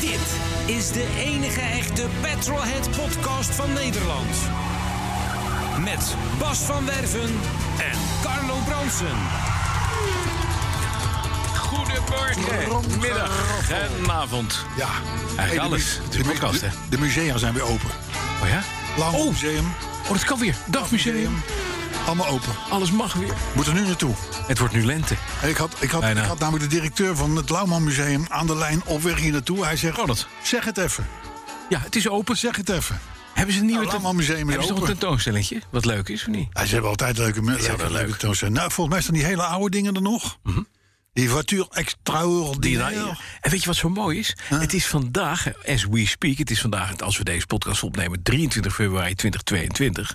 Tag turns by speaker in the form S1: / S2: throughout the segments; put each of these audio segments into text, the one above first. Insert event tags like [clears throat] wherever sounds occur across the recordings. S1: Dit is de enige echte Petrolhead podcast van Nederland. Met Bas van Werven en Carlo Bronsen.
S2: Goedemiddag en avond.
S3: Ja.
S2: Eigenlijk alles.
S3: mu-
S2: Het is een podcast,
S3: de,
S2: hè?
S3: de musea zijn weer open.
S2: Oh ja?
S3: Lang
S2: Oh,
S3: museum,
S2: oh, dat kan weer. Dagmuseum.
S3: allemaal open.
S2: Alles mag weer.
S3: Moet er nu naartoe.
S2: Het wordt nu lente.
S3: Ik had, ik, had, ik
S2: Bijna.
S3: had namelijk de directeur van het Lauwman Museum aan de lijn op weg hier naartoe. Hij zegt,
S2: Oh, dat.
S3: zeg het even.
S2: Ja, het is open.
S3: Zeg het even.
S2: Hebben ze een nieuwe
S3: Nou, Laman Museum is
S2: Hebben ze nog een
S3: open. Oh,
S2: tentoonstelling? Wat leuk is, of niet?
S3: Hij ze hebben altijd leuke mu- leuke,
S2: altijd leuk. Mhm.
S3: leuke toonstellingen. Nou, volgens mij staan die hele oude dingen er nog. Die voiture extraordinaire.
S2: En weet je wat zo mooi is? Het is vandaag, as we speak, het is vandaag, als we deze podcast opnemen, 23 februari 2022.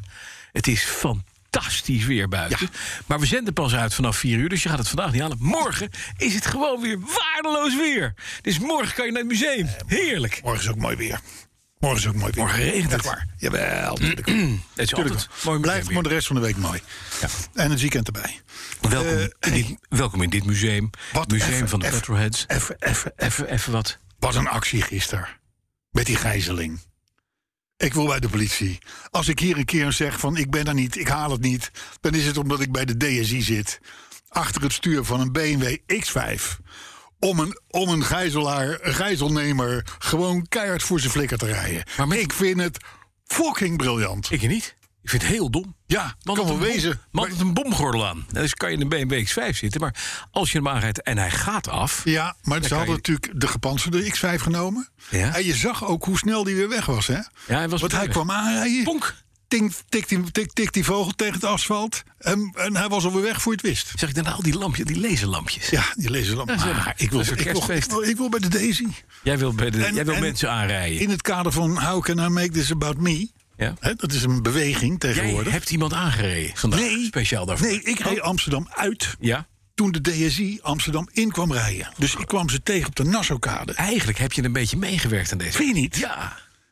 S2: Het is fantastisch weer buiten. Maar we zenden pas uit vanaf 4 uur, dus je gaat het vandaag niet halen. Morgen is het gewoon weer waardeloos weer. Dus morgen kan je naar het museum.
S3: Eh,
S2: Heerlijk.
S3: Morgen is ook mooi weer. Morgen is ook mooi weer.
S2: Morgen regent het.
S3: Echt waar. Jawel. tuurlijk.
S2: Het [clears throat] is
S3: Tuurlijk
S2: altijd
S3: wel.
S2: mooi
S3: Blijft maar
S2: museum
S3: de rest van de week mooi. En het weekend erbij.
S2: weer. welkom, in
S3: Eh,
S2: dit, welkom in dit museum.
S3: Wat
S2: museum
S3: effe,
S2: van de
S3: effe,
S2: Petrolheads.
S3: Even, even, even.
S2: Even, even wat.
S3: Wat een actie gisteren. Met die gijzeling. Ik wil bij de politie. Als ik hier een keer zeg van ik ben er niet, ik haal het niet... dan is het omdat ik bij de DSI zit. Achter het stuur van een BMW X5. Om een, om een gijzelaar, een gijzelnemer... gewoon keihard voor zijn flikker te rijden.
S2: Maar met-
S3: Ik vind het fucking briljant.
S2: Ik niet. Ik vind het heel dom.
S3: Ja, kan
S2: Man had
S3: wel
S2: een bom-
S3: wezen.
S2: Man
S3: Maar-
S2: had een bomgordel aan. Nou, Dus kan je in een BMW X5 zitten. Maar als je hem aanrijdt en hij gaat af...
S3: Ja, maar ze
S2: kan
S3: hadden
S2: je-
S3: natuurlijk de gepantserde X5 genomen.
S2: Ja.
S3: En je zag ook hoe snel die weer weg was, hè?
S2: hij was
S3: Want hij
S2: meteen
S3: kwam aanrijden.
S2: Bonk.
S3: Tink, tik, die, tik, tik die vogel tegen het asfalt. En, en hij was alweer weg voor je het wist.
S2: Zeg ik dan al die lampjes, die laserlampjes.
S3: Ja, die lezen dan.
S2: is wel-
S3: Maar ik wil,
S2: dat is een
S3: ik, wil, ik,
S2: kerstfeest.
S3: wil, ik wil bij de Daisy.
S2: Jij wil, bij de,
S3: En-
S2: jij wil
S3: en-
S2: mensen aanrijden.
S3: In het kader van How Can I Make This About Me.
S2: Ja.
S3: Hè, dat is een beweging
S2: Jij
S3: tegenwoordig.
S2: hebt iemand aangereden vandaag.
S3: Nee.
S2: Speciaal daarvoor. Oh,
S3: Nee, ik reed Amsterdam uit
S2: Ja.
S3: toen de DSI Amsterdam in kwam rijden. Dus ik kwam ze tegen op de Nassaukade.
S2: Eigenlijk heb je een beetje meegewerkt aan deze.
S3: Vind je niet?
S2: Ja.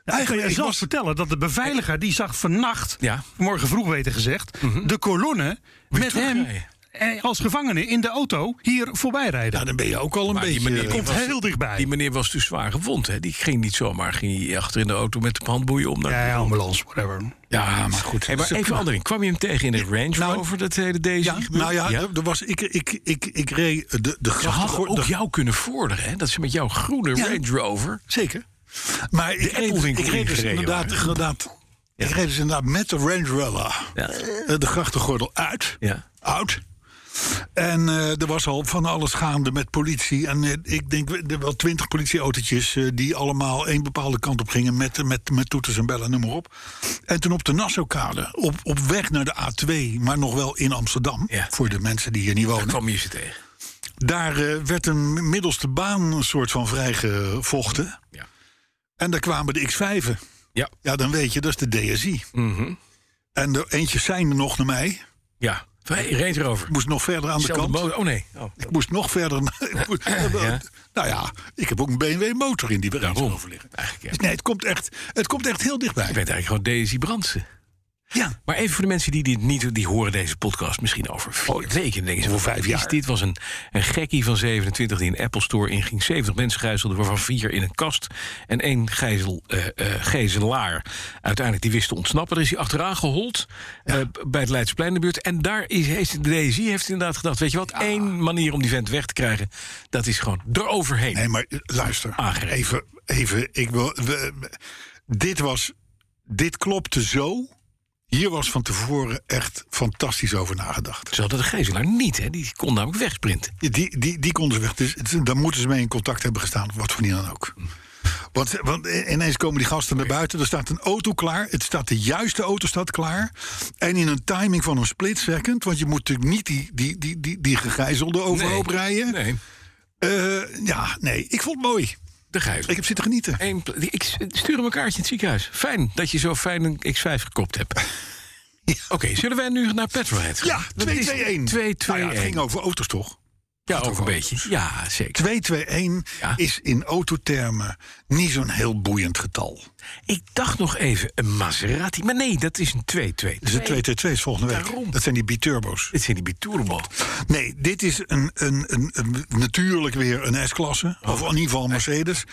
S4: Kan
S3: Eigenlijk
S4: je
S3: ik
S4: zelfs
S3: was-
S4: vertellen dat de beveiliger die zag vannacht,
S2: Ja.
S4: morgen vroeg weten gezegd, de kolonne met hem
S2: terugrijden.
S4: eh, als gevangene in de auto hier voorbij rijden.
S3: Ja, dan ben je ook al een
S2: Maar die
S3: beetje...
S2: meneer-
S4: Die komt
S2: was-
S4: heel dichtbij.
S2: Die meneer was dus zwaar gewond. Hè? Die ging niet zomaar ging hij achter in de auto met de handboeien om. Naar
S4: ja, ja, ambulance, whatever.
S3: Ja, maar goed.
S2: Hey, maar
S3: Ze-
S2: even Andering, kwam je hem tegen in de Range
S3: nou,
S2: Rover, dat hele deze
S3: Ja, nou ja, er- Er was, ik, ik, ik, ik reed de, de
S2: Ze
S3: grachten...
S2: hadden
S3: gor-
S2: ook
S3: de-
S2: jou kunnen vorderen, hè? Dat ze met jouw groene
S3: Ja.
S2: Range Rover...
S3: Zeker. Maar ik reed,
S2: Appelwinkel
S3: ik reed dus
S2: ingereden
S3: inderdaad...
S2: waren.
S3: inderdaad Ik reed dus inderdaad met de Range Rover
S2: Ja.
S3: eh, de grachtengordel uit.
S2: Ja.
S3: Oud. En eh, er was al van alles gaande met politie. En eh, ik denk we- er wel twintig politieautootjes... eh, die allemaal één bepaalde kant op gingen... Met, met, met toeters en bellen, noem maar op. En toen op de Nassaukade, op, op weg naar de A2... maar nog wel in Amsterdam,
S2: Ja.
S3: voor de mensen die hier niet wonen...
S2: kwam je ze tegen.
S3: Daar eh, werd een middelste baan een soort van vrijgevochten.
S2: Ja.
S3: En daar kwamen de X5'en.
S2: Ja.
S3: Ja, dan weet je, dat is de DSI.
S2: Mhm.
S3: En er eentje zijn er nog naar mij.
S2: Ja. Hey, Range Rover.
S3: Ik moest nog verder aan de
S2: Zelfde
S3: kant.
S2: motor. Oh nee. Oh.
S3: Ik moest nog verder. naar- ik moest-
S2: Ja.
S3: [laughs] Nou ja, ik heb ook een BMW motor in die bereid
S2: Daarom.
S3: over liggen.
S2: Eigenlijk, ja.
S3: Dus nee, het komt echt, het komt echt heel dichtbij.
S2: Ik weet eigenlijk gewoon Daisy Brandsen.
S3: Ja.
S2: Maar even voor de mensen die dit niet die horen deze podcast misschien over vier weken. Dan denken ze,
S3: Oh, Over
S2: wat
S3: vijf
S2: is
S3: jaar.
S2: Dit was een, een gekkie van 27 die een Apple Store inging. 70 mensen gijzelden, waarvan vier in een kast. En één gijzel, eh, eh, gijzelaar. Uiteindelijk die wist te ontsnappen. Er is hij achteraan gehold eh, b- bij het Leidseplein in de buurt. En daar is, is de DSI heeft inderdaad gedacht... weet je wat, één manier om die vent weg te krijgen... dat is gewoon eroverheen.
S3: Nee, maar eh, luister.
S2: Aangereden.
S3: Even, even. Ik wil, we- dit was. Dit klopte zo. Hier was van tevoren echt fantastisch over nagedacht.
S2: Ze hadden de gijzelaar niet, hè? die kon namelijk wegsprinten.
S3: Die, die, die konden ze weg. Dus het- daar moeten ze mee in contact hebben gestaan. Wat voor niet dan ook. Want, want ineens komen die gasten naar buiten. Er staat een auto klaar. Het staat de juiste auto staat klaar. En in een timing van een split second. Want je moet natuurlijk niet die, die, die, die, die gegijzelde overhoop rijden.
S2: Nee,
S3: Eh, ja, nee. Ik vond het mooi.
S2: de gijzel.
S3: Ik heb zitten genieten.
S2: Eén pla- ik s- stuur hem een kaartje in het ziekenhuis. Fijn dat je zo fijn een X5 gekopt hebt. [laughs] Oké, zullen wij nu naar Petrolhead gaan?
S3: Ja, 2-2-1.
S2: 2 2
S3: Nou
S2: 2
S3: ja, het ging over auto's toch?
S2: Ja, ook een
S3: over
S2: beetje. Ja, zeker.
S3: 2-2-1
S2: Ja.
S3: is in autothermen niet zo'n heel boeiend getal.
S2: Ik dacht nog even een Maserati. Maar nee, dat is een 2-2.
S3: Dus het 2-2-2 is volgende week.
S2: Daarom.
S3: Dat zijn die biturbo's.
S2: Dit zijn die Biturbo.
S3: Nee, dit is een, een, een, een- natuurlijk weer een S-klasse.
S2: Oh.
S3: Of in ieder geval een Mercedes.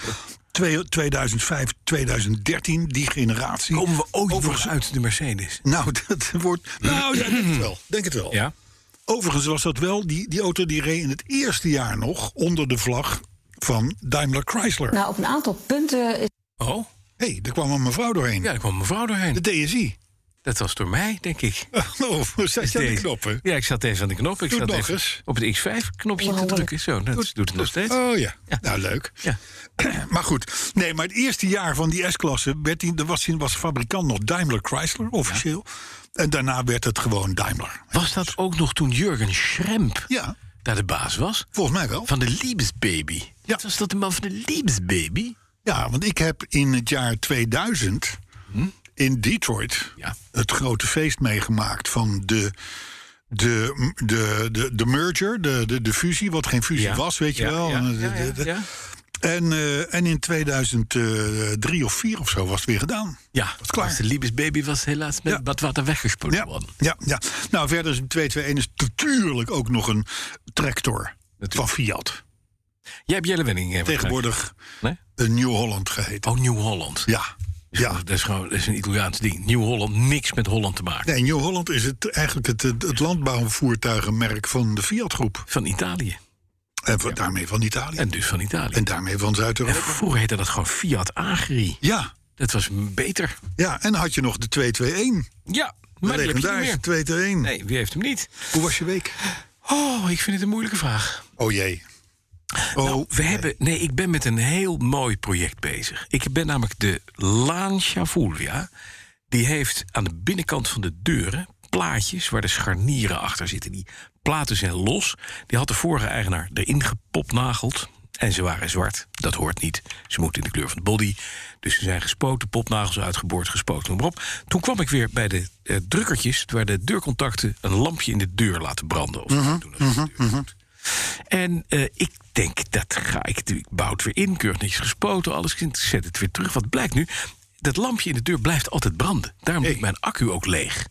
S3: Twee- 2005, 2013, die generatie.
S2: Komen we ooit nog uit de Mercedes?
S3: Nou, [laughs] dat wordt... Nou, ja, denk het wel. Denk het wel.
S2: Hmm. Ja.
S3: Overigens was dat wel... Die, die auto die reed in het eerste jaar nog... onder de vlag van Daimler Chrysler.
S5: Nou, op een aantal punten is
S2: Oh,
S3: Hé, hey, daar kwam een mevrouw doorheen.
S2: ja, daar kwam mevrouw doorheen.
S3: De DSI.
S2: Dat was door mij, denk ik.
S3: [laughs] Oh, zet je aan de
S2: Deze-
S3: knoppen?
S2: Ja, ik zat even aan de knop. Ik
S3: Doe
S2: zat
S3: het nog
S2: even
S3: eens.
S2: op het X5-knopje te drukken. Zo, dat doet het nog steeds.
S3: Oh ja. nou leuk.
S2: Ja.
S3: [clears throat] maar goed, nee, maar het eerste jaar van die S-klasse werd die- er was, was fabrikant nog Daimler Chrysler, officieel. En daarna werd het gewoon Daimler.
S2: Was dat ook nog toen Jurgen Schremp
S3: Ja,
S2: daar de baas was?
S3: volgens mij wel.
S2: Van de Liebesbaby. Ja. Was dat de man van de Liebesbaby?
S3: Ja, want ik heb in het jaar 2000 in Detroit
S2: Hm? Ja.
S3: het grote feest meegemaakt van de, de, de, de, de merger, de, de, de fusie, wat geen fusie
S2: Ja.
S3: was, weet je
S2: Ja,
S3: wel.
S2: ja,
S3: En,
S2: ja,
S3: eh,
S2: ja,
S3: de-
S2: ja.
S3: En, eh, en in 2003 of 4 of zo was het weer gedaan.
S2: Ja,
S3: was klaar.
S2: dus de Liebesbaby was helaas met
S3: Ja.
S2: wat water weggespoeld
S3: Ja,
S2: worden.
S3: ja, ja. Nou, verder is een 221 is natuurlijk ook nog een tractor
S2: Natuurlijk.
S3: van Fiat.
S2: Jij hebt Jelle Wenning. eh,
S3: Tegenwoordig
S2: Nee?
S3: een New Holland geheten.
S2: Oh, New Holland.
S3: Ja, ja.
S2: Dat is gewoon dat is een Italiaans ding. New Holland, niks met Holland te maken.
S3: Nee, New Holland is het, eigenlijk het, het, het landbouwvoertuigenmerk van de Fiat-groep.
S2: Van Italië.
S3: En van, daarmee van Italië. En,
S2: En dus van Italië.
S3: daarmee van Zuid-Europa.
S2: Vroeger heette dat gewoon Fiat Agri.
S3: Ja,
S2: Dat was beter.
S3: ja, en dan had je nog de 221.
S2: Ja,
S3: De
S2: maar die heb je niet
S3: legendarische
S2: meer.
S3: 221.
S2: Nee, wie heeft hem niet?
S3: Hoe was je week?
S2: Oh, ik vind het een moeilijke vraag.
S3: Oh jee. Oh,
S2: Nou, We hebben, nee, ik ben met een heel mooi project bezig. Ik ben namelijk de Laan Chavulvia. Die heeft aan de binnenkant van de deuren plaatjes waar de scharnieren achter zitten. Die platen zijn los. Die had de vorige eigenaar erin gepopnageld. En ze waren zwart. Dat hoort niet. Ze moeten in de kleur van de body. Dus ze zijn gespoten, popnagels uitgeboord, gespoten, noem maar op. Toen kwam ik weer bij de eh, drukkertjes... waar de deurcontacten een lampje in de deur laten branden. Of zo doen als je de deur doet. En eh, ik denk, dat ga ik doen. Ik bouw het weer in, keurig netjes gespoten, alles. Ik zet het weer terug. Wat blijkt nu? Dat lampje in de deur blijft altijd branden. Daarom is mijn accu ook leeg.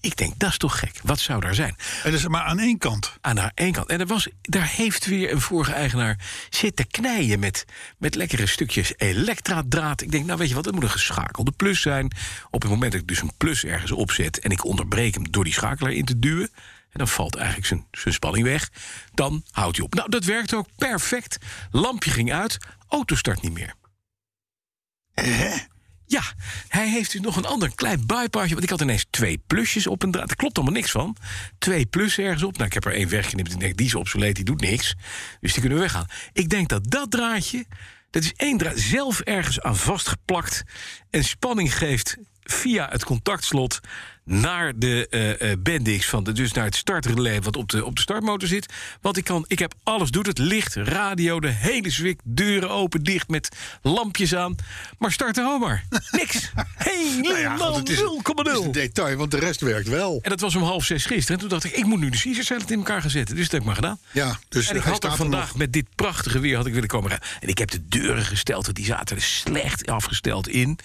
S2: Ik denk, dat is toch gek. Wat zou daar zijn?
S3: en dat is maar aan één kant.
S2: aan haar één kant. En er was, daar heeft weer een vorige eigenaar zitten knijden met, met lekkere stukjes elektradraad. Ik denk, nou weet je wat, dat moet een geschakelde plus zijn. Op het moment dat ik dus een plus ergens opzet en ik onderbreek hem door die schakelaar in te duwen. En dan valt eigenlijk zijn, zijn spanning weg. Dan houdt hij op. Nou, dat werkt ook perfect. Lampje ging uit, auto start niet meer. Ja, hij heeft dus nog een ander klein bypassje. Want ik had ineens twee plusjes op een draad. Er klopt allemaal niks van. Twee plus ergens op. Nou, ik heb er één weggeknipt. Ik denk, die is obsoleet, die doet niks. Dus die kunnen we weggaan. Ik denk dat dat draadje, dat is één draad zelf ergens aan vastgeplakt... en spanning geeft via het contactslot naar de eh, eh, bendix van de, dus naar het startrelay wat op de, op de startmotor zit. Want ik kan, ik heb alles doet het licht, radio, de hele zwik, deuren open, dicht met lampjes aan. Maar start er
S3: [laughs]
S2: maar. Niks.
S3: Nou ja,
S2: Helemaal
S3: want het is- Het is een
S2: 0,0.
S3: detail, want de rest werkt wel.
S2: En dat was om half zes gisteren. En toen dacht ik, ik moet nu de Caesar salad in elkaar gaan zetten. Dus dat heb ik maar gedaan.
S3: Ja, dus
S2: en ik
S3: hij
S2: had er
S3: staat er
S2: vandaag
S3: nog.
S2: met dit prachtige weer had ik willen komen rijden. En ik heb de deuren gesteld, want die zaten er slecht afgesteld in.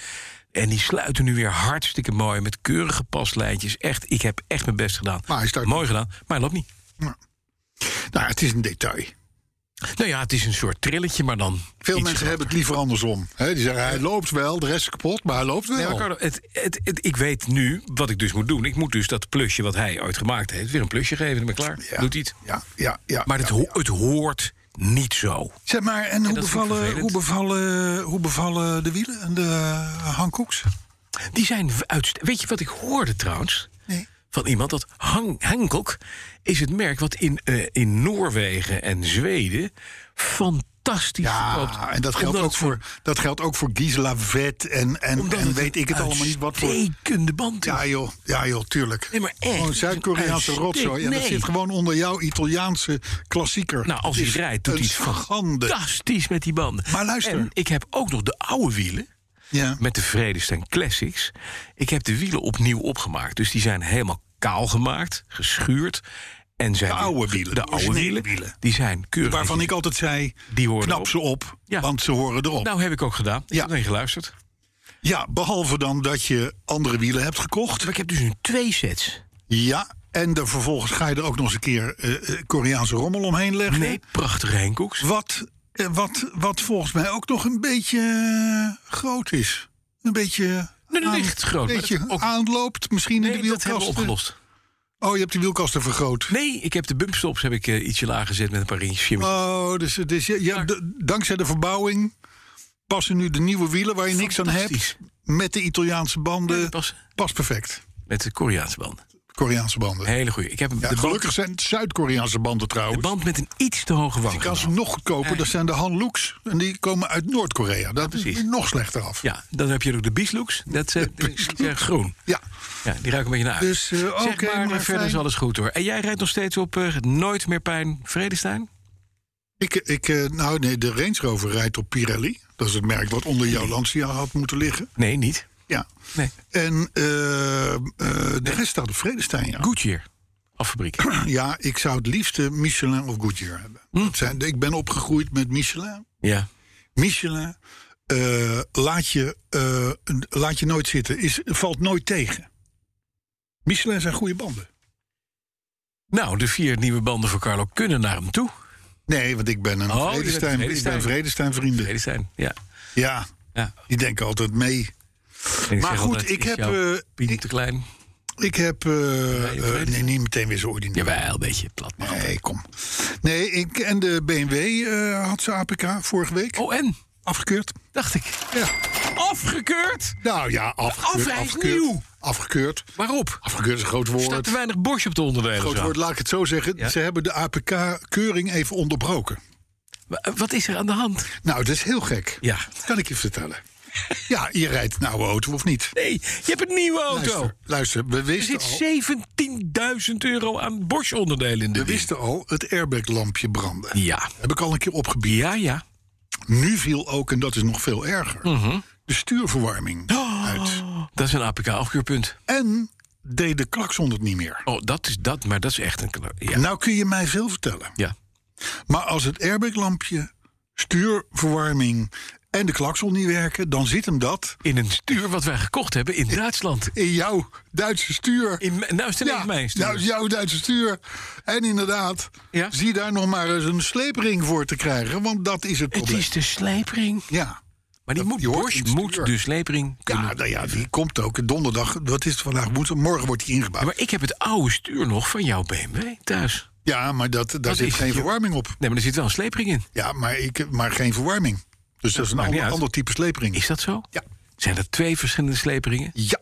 S2: En die sluiten nu weer hartstikke mooi met keurige paslijntjes. Echt, ik heb echt mijn best gedaan.
S3: Maar hij start
S2: mooi gedaan, maar hij loopt niet.
S3: Nou, het is een detail.
S2: Nou ja, het is een soort trilletje, maar dan.
S3: Veel
S2: iets
S3: mensen hebben het liever andersom. Hè, die zeggen, hij loopt wel, de rest is kapot, maar hij loopt wel.
S2: Nee, maar Carlo, het, het, het- ik weet nu wat ik dus moet doen. Ik moet dus dat plusje wat hij ooit gemaakt heeft, weer een plusje geven. Dan ben ik klaar.
S3: Ja.
S2: Doet iets.
S3: ja, ja, ja.
S2: Maar het,
S3: ja,
S2: ho-
S3: ja.
S2: het hoort niet zo.
S3: Zeg maar, en, hoe,
S2: dat vind ik
S3: bevallen,
S2: vervelend.
S3: hoe, bevallen, hoe bevallen de eh, wielen en de Hankoeks?
S2: Die zijn uit. Weet je wat ik hoorde trouwens?
S3: Nee.
S2: van iemand dat Hang Hancock is het merk wat in, eh, in Noorwegen en Zweden fantastisch
S3: Ja,
S2: verkoopt.
S3: en dat geldt,
S2: Omdat
S3: ook
S2: het zo-
S3: voor, dat geldt ook voor Gisela Vet en, en,
S2: omdat
S3: en
S2: het
S3: weet
S2: een
S3: ik het allemaal niet wat voor...
S2: uitstekende band is.
S3: Ja joh, ja joh, tuurlijk.
S2: Nee, maar echt.
S3: Gewoon Zuid-Koreaanse
S2: Uitstekend.
S3: rotzooi. En dat
S2: Nee.
S3: zit gewoon onder jouw Italiaanse klassieker.
S2: Nou,
S3: Het
S2: als hij
S3: is
S2: rijdt, doet
S3: een
S2: hij het
S3: schande.
S2: fantastisch met die banden.
S3: Maar luister.
S2: En ik heb ook nog de oude wielen.
S3: Ja.
S2: Met de Vredestein Classics. Ik heb de wielen opnieuw opgemaakt. Dus die zijn helemaal kaal gemaakt, geschuurd. En zijn
S3: De oude wielen, de
S2: De oude
S3: originele
S2: wielen.
S3: wielen.
S2: Die zijn keurig.
S3: Waarvan ik altijd zei,
S2: Die horen
S3: knap
S2: erop.
S3: ze op,
S2: Ja.
S3: want ze horen erop.
S2: Nou, heb ik ook gedaan. Ik
S3: Ja.
S2: heb alleen geluisterd.
S3: Ja, behalve dan dat je andere wielen hebt gekocht.
S2: Maar ik heb dus nu twee sets.
S3: Ja, en er vervolgens ga je er ook nog eens een keer eh, eh, Koreaanse rommel omheen leggen.
S2: Nee, prachtige Henkoeks.
S3: Wat, eh, wat, wat volgens mij ook nog een beetje eh, groot is. Een beetje.
S2: Nee, nee,
S3: aan-
S2: licht groot, maar
S3: Een beetje
S2: dat ook-
S3: aanloopt, misschien in de
S2: Nee, dat
S3: wielkasten.
S2: hebben we opgelost.
S3: Oh, je hebt die wielkasten vergroot.
S2: Nee, ik heb de bumpstops heb ik, eh, ietsje lager gezet met een paar ringetjes.
S3: Oh, dus, dus je- je- d- dankzij de verbouwing passen nu de nieuwe wielen waar je niks aan hebt.
S2: Fantastisch.
S3: Met de Italiaanse banden.
S2: Ja, die passen.
S3: Pas perfect.
S2: Met de Koreaanse banden.
S3: Koreaanse banden.
S2: Hele goeie. Ik heb
S3: Ja,
S2: de, band,
S3: gelukkig zijn het Zuid-Koreaanse banden
S2: de
S3: trouwens.
S2: band met een iets te hoge wang.
S3: Die kan ze
S2: genomen.
S3: nog goedkoper. Dat zijn de Hanlooks. En die komen uit Noord-Korea. Dat
S2: precies.
S3: is nog slechter af.
S2: Ja, dan heb je ook de Bieslooks. Dat zijn, die zijn groen.
S3: Ja.
S2: Ja, die ruiken een beetje naar uit.
S3: Dus, eh,
S2: zeg
S3: oké,
S2: maar, maar
S3: maar
S2: verder
S3: fijn.
S2: is alles goed hoor. En jij rijdt nog steeds op eh, Nooit meer pijn Vredestein?
S3: Ik, ik, eh, nou nee, de Range Rover rijdt op Pirelli. Dat is het merk wat onder jouw Lancia had moeten liggen.
S2: Nee, niet.
S3: Ja.
S2: Nee,
S3: En eh, eh, de rest staat op Vredestein, ja.
S2: Goodyear. Affabriek.
S3: Ja, ik zou het liefste Michelin of Goodyear hebben.
S2: Hm.
S3: Dat zijn, ik ben opgegroeid met Michelin.
S2: Ja.
S3: Michelin, eh, laat, je, eh, laat je nooit zitten. Is, valt nooit tegen. Michelin zijn goede banden.
S2: Nou, de vier nieuwe banden voor Carlo kunnen naar hem toe.
S3: Nee, want ik ben een
S2: Oh, je bent
S3: Vredestein. Ik
S2: Vredestein.
S3: ben Vredestein vrienden.
S2: Vredestein, ja.
S3: Ja,
S2: ja.
S3: die denken altijd mee.
S2: En ik
S3: Maar
S2: zeg
S3: goed,
S2: altijd,
S3: ik
S2: is
S3: heb,
S2: jouw
S3: eh,
S2: Pien
S3: ik-
S2: te klein?
S3: Ik heb... eh, eh, nee,
S2: Vredestein.
S3: niet meteen weer zo ordinair.
S2: Jawel, een beetje plat. Maar.
S3: Nee, kom. Nee, ik, en de BMW eh, had ze APK vorige week.
S2: Oh, en?
S3: Afgekeurd.
S2: Dacht ik.
S3: Ja.
S2: Afgekeurd?
S3: Nou ja, afgekeurd.
S2: Afrijden is
S3: afgekeurd,
S2: nieuw.
S3: Afgekeurd.
S2: Waarop?
S3: Afgekeurd is een groot
S2: Er staat
S3: woord.
S2: te weinig borstje op de onderdelen.
S3: Groot
S2: zo.
S3: woord, laat ik het zo zeggen.
S2: Ja.
S3: Ze hebben de APK-keuring even onderbroken.
S2: Wa- eh, Wat is er aan de hand?
S3: Nou, dat is heel gek.
S2: Ja.
S3: Dat kan ik je vertellen. ja, je rijdt een oude auto of niet?
S2: Nee, je hebt een nieuwe auto.
S3: Luister, luister we
S2: Er
S3: wisten al...
S2: zit 17.000 euro aan borstonderdelen in de
S3: We
S2: ding.
S3: wisten al, het airbaglampje brandde.
S2: Ja.
S3: Heb ik al een keer opgebied.
S2: Ja, ja.
S3: Nu viel ook, en dat is nog veel erger,
S2: Mhm.
S3: de stuurverwarming
S2: Oh.
S3: uit.
S2: Dat is een APK-afkeurpunt.
S3: En deed de klakson het niet meer.
S2: Oh, dat is dat, maar dat is echt een... kla- Ja.
S3: Nou kun je mij veel vertellen.
S2: ja.
S3: Maar als het airbaglampje, stuurverwarming en de klakson niet werken... dan zit hem dat
S2: In een stuur wat wij gekocht hebben in Duitsland.
S3: in jouw Duitse stuur.
S2: In, mijn- nou is het ineens mijn stuur.
S3: nou, jouw Duitse stuur. En inderdaad,
S2: Ja.
S3: zie daar nog maar eens een sleepring voor te krijgen. Want dat is het
S2: het
S3: probleem.
S2: is de slijpering.
S3: Ja.
S2: Maar die
S3: Dat-
S2: moet,
S3: die hoort in
S2: Bosch
S3: het
S2: moet
S3: stuur.
S2: de slijpering kunnen.
S3: Ja, nou ja, die komt ook donderdag. Wat is het vandaag? Woensdag, morgen wordt die
S2: Ja,
S3: ingebouwd.
S2: maar ik heb het oude stuur nog van jouw BMW thuis.
S3: Ja, maar dat, daar
S2: Dat
S3: zit
S2: is-
S3: geen
S2: ja.
S3: verwarming op.
S2: Nee, maar er zit wel een slepering in.
S3: Ja, maar, ik, maar geen verwarming. Dus dat is een
S2: maakt niet
S3: ander,
S2: uit.
S3: ander type slepering.
S2: Is dat zo?
S3: Ja.
S2: Zijn er twee verschillende sleperingen?
S3: Ja.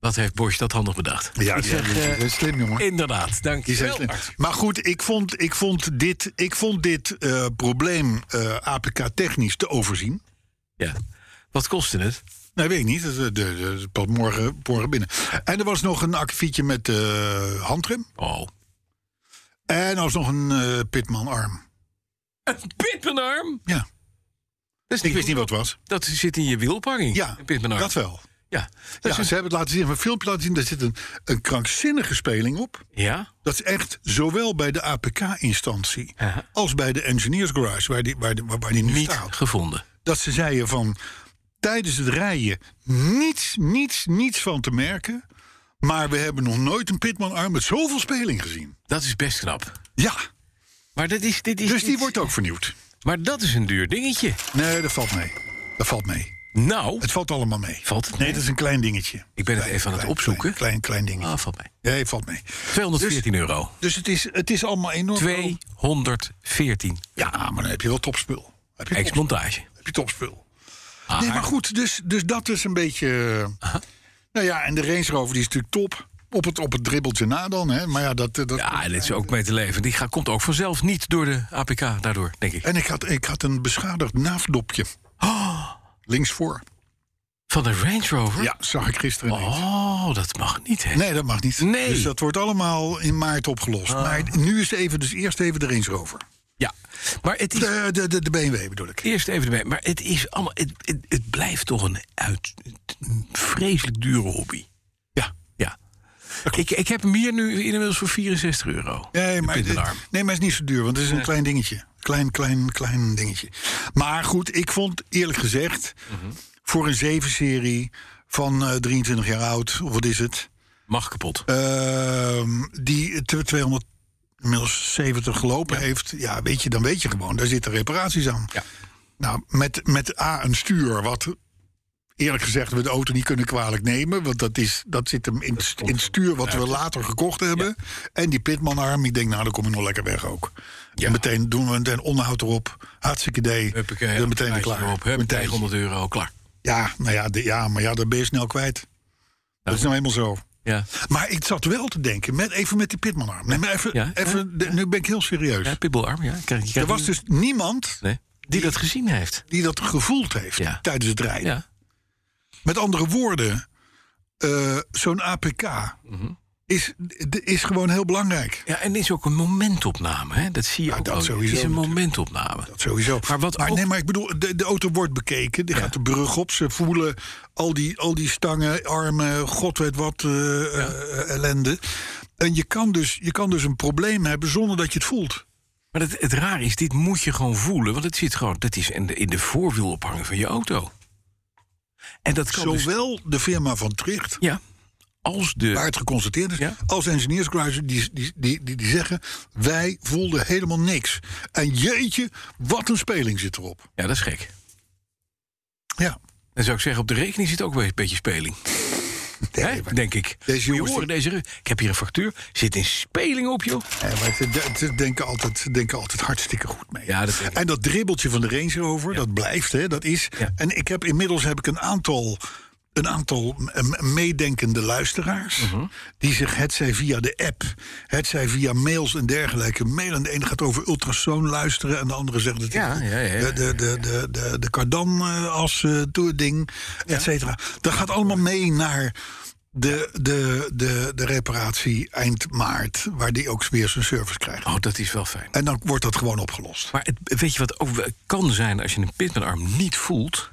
S2: Wat heeft Bosch dat handig bedacht?
S3: Ja, die zijn- die zijn slim, jongen.
S2: Inderdaad, dank
S3: Die
S2: je
S3: zijn
S2: eh, wel.
S3: slim. Maar goed, ik vond, ik vond dit, ik vond dit eh, probleem eh, APK-technisch te overzien.
S2: Ja. Wat kostte het?
S3: Nee, weet ik niet. Het de, de, het past morgen, morgen binnen. En er was nog een akkefietje met eh, handrem.
S2: Oh.
S3: En er was nog een eh, pitmanarm.
S2: Een pitmanarm?
S3: Ja,
S2: Dat is
S3: ik wist niet wat het was.
S2: Dat zit in je wielophanging.
S3: Ja,
S2: een pitmanarm.
S3: dat wel.
S2: Ja. Dat
S3: Ja,
S2: is een-
S3: ze hebben het laten zien, hebben een filmpje laten zien. Daar zit een, een krankzinnige speling op.
S2: ja?
S3: Dat is echt zowel bij de APK-instantie
S2: Ja.
S3: als bij de Engineers Garage, waar die, waar die, waar, waar die nu
S2: Niet
S3: staat.
S2: gevonden.
S3: Dat ze zeiden van tijdens het rijden niets, niets, niets van te merken. Maar we hebben nog nooit een pitmanarm met zoveel speling gezien.
S2: Dat is best knap.
S3: Ja,
S2: Maar, dat is, dit is
S3: dus die
S2: iets-
S3: wordt ook vernieuwd.
S2: maar dat is een duur dingetje.
S3: Nee, dat valt mee. Dat valt mee.
S2: Nou,
S3: Het valt allemaal mee.
S2: Valt het
S3: nee,
S2: mee?
S3: dat is een klein dingetje.
S2: ik ben het even aan het
S3: Klein,
S2: opzoeken.
S3: Klein, klein, klein dingetje.
S2: Ah, valt mij.
S3: Nee, valt mee.
S2: 214 euro.
S3: Dus het is, het is allemaal enorm.
S2: 214.
S3: Ja, maar dan heb je wel topspul. Heb je, topspul.
S2: Ex-montage.
S3: heb je topspul.
S2: Ah,
S3: Nee, maar goed, dus, dus dat is een beetje... eh, Nou ja, en de Range Rover die is natuurlijk top. op het, op het dribbeltje na dan. Hè? Maar ja, dat, eh, dat,
S2: Ja, en dit is ook mee te leven. Die gaat, komt ook vanzelf niet door de APK daardoor, denk ik.
S3: En ik had, ik had een beschadigd naafdopje.
S2: Oh.
S3: Linksvoor.
S2: Van de Range Rover?
S3: Ja, zag ik gisteren ineens.
S2: Oh, dat mag niet, hè?
S3: Nee, dat mag niet.
S2: Nee. Ah.
S3: Dus dat wordt allemaal in maart opgelost. Maar nu is even, dus eerst even de Range Rover.
S2: Ja, maar het is...
S3: De, de, de, de BMW bedoel ik.
S2: Eerst even erbij. Maar het is allemaal... Het, het, het blijft toch een, uit, een vreselijk dure hobby.
S3: Ja.
S2: Ja. Ik, ik heb hem hier nu inmiddels voor 64 euro.
S3: Nee,
S2: De
S3: maar, dit-
S2: pindarm.
S3: nee, maar het is niet zo duur, want het is een klein dingetje. Klein, klein, klein dingetje. Maar goed, ik vond eerlijk gezegd... voor een 7-serie van eh, 23 jaar oud, of wat is het...
S2: Mag kapot.
S3: Ehm, die te- 200 inmiddels 70 gelopen heeft, ja, weet je, dan weet je gewoon, daar zitten reparaties aan.
S2: Ja.
S3: Nou, met, met A, een stuur, wat eerlijk gezegd we de auto niet kunnen kwalijk nemen, want dat, is, dat zit hem in, het st- in het stuur wat we later gekocht hebben. En die pitmanarm, ik denk, nou, dan kom je nog lekker weg ook. En meteen doen we meteen onderhoud erop, hartstikke idee,
S2: Huppakee,
S3: dan meteen weer
S2: prijsje
S3: klaar.
S2: erop. Hup,
S3: Meteen.
S2: 900 euro, klaar.
S3: Ja, nou ja, de- ja, maar ja, dat ben je snel kwijt. Dat is nou helemaal zo.
S2: Ja.
S3: Maar ik zat wel te denken, met, even met die Pitmanarm. Nee, maar even,
S2: Ja,
S3: even de- nu ben ik heel serieus.
S2: Ja, pibbelarm, ja. Kijk, je
S3: Dus- er
S2: krijgt
S3: was
S2: een-
S3: dus niemand
S2: Nee, die dat gezien heeft.
S3: die dat gevoeld heeft
S2: Ja.
S3: tijdens het rijden.
S2: Ja.
S3: Met andere woorden, eh, zo'n APK
S2: Mhm.
S3: is, de- is gewoon heel belangrijk.
S2: Ja, en is ook een momentopname. Hè? Dat zie je
S3: Ja,
S2: ook.
S3: Nou, dat
S2: wel.
S3: sowieso
S2: Het is een
S3: natuurlijk.
S2: momentopname.
S3: Dat sowieso.
S2: Maar wat ook-
S3: nee, maar ik bedoel, de, de auto wordt bekeken. Die gaat de brug op. Ze voelen al die, al die stangen, armen, god weet wat eh, eh, ellende. En je kan, dus, je kan dus een probleem hebben zonder dat je het voelt.
S2: Maar het, het raar is, dit moet je gewoon voelen. Want het zit gewoon, dat is in de, in de voorwiel ophangen van je auto. En dat kan dus,
S3: Zowel de firma van Tricht,
S2: ja, als de...
S3: waar het geconstateerd is,
S2: Ja.
S3: als engineersgarage, die, die, die, die, die zeggen: wij voelden helemaal niks. En jeetje, wat een speling zit erop.
S2: Ja, dat is gek.
S3: Ja.
S2: Dan zou ik zeggen, op de rekening zit ook weer een beetje speling. Hè?
S3: maar-
S2: Denk ik.
S3: Deze
S2: Moet je
S3: jongens
S2: horen, deze, re- ik heb hier een factuur. Zit in speling op, joh.
S3: Ja, maar ze, de- ze denken altijd, ze denken altijd hartstikke goed mee.
S2: Ja, dat denk ik.
S3: en dat dribbeltje van de Range Rover, dat blijft, hè, dat is.
S2: Ja.
S3: En ik heb, inmiddels heb ik een aantal, een aantal eh, m- meedenkende luisteraars...
S2: Mhm.
S3: die zich, hetzij via de app, hetzij via mails en dergelijke... mailen. De ene gaat over ultrasoon luisteren en de andere zegt... Het
S2: Ja, ja, ja, ja.
S3: de, de, de, de, de, de eh, Cardan-as-ding, et cetera. Dat gaat allemaal mee naar de, de, de, de reparatie eind maart... waar die ook weer zijn service krijgt.
S2: Oh, dat is wel fijn.
S3: En dan wordt dat gewoon opgelost.
S2: Maar het, weet je wat ook wel kan zijn als je een pitmanarm niet voelt?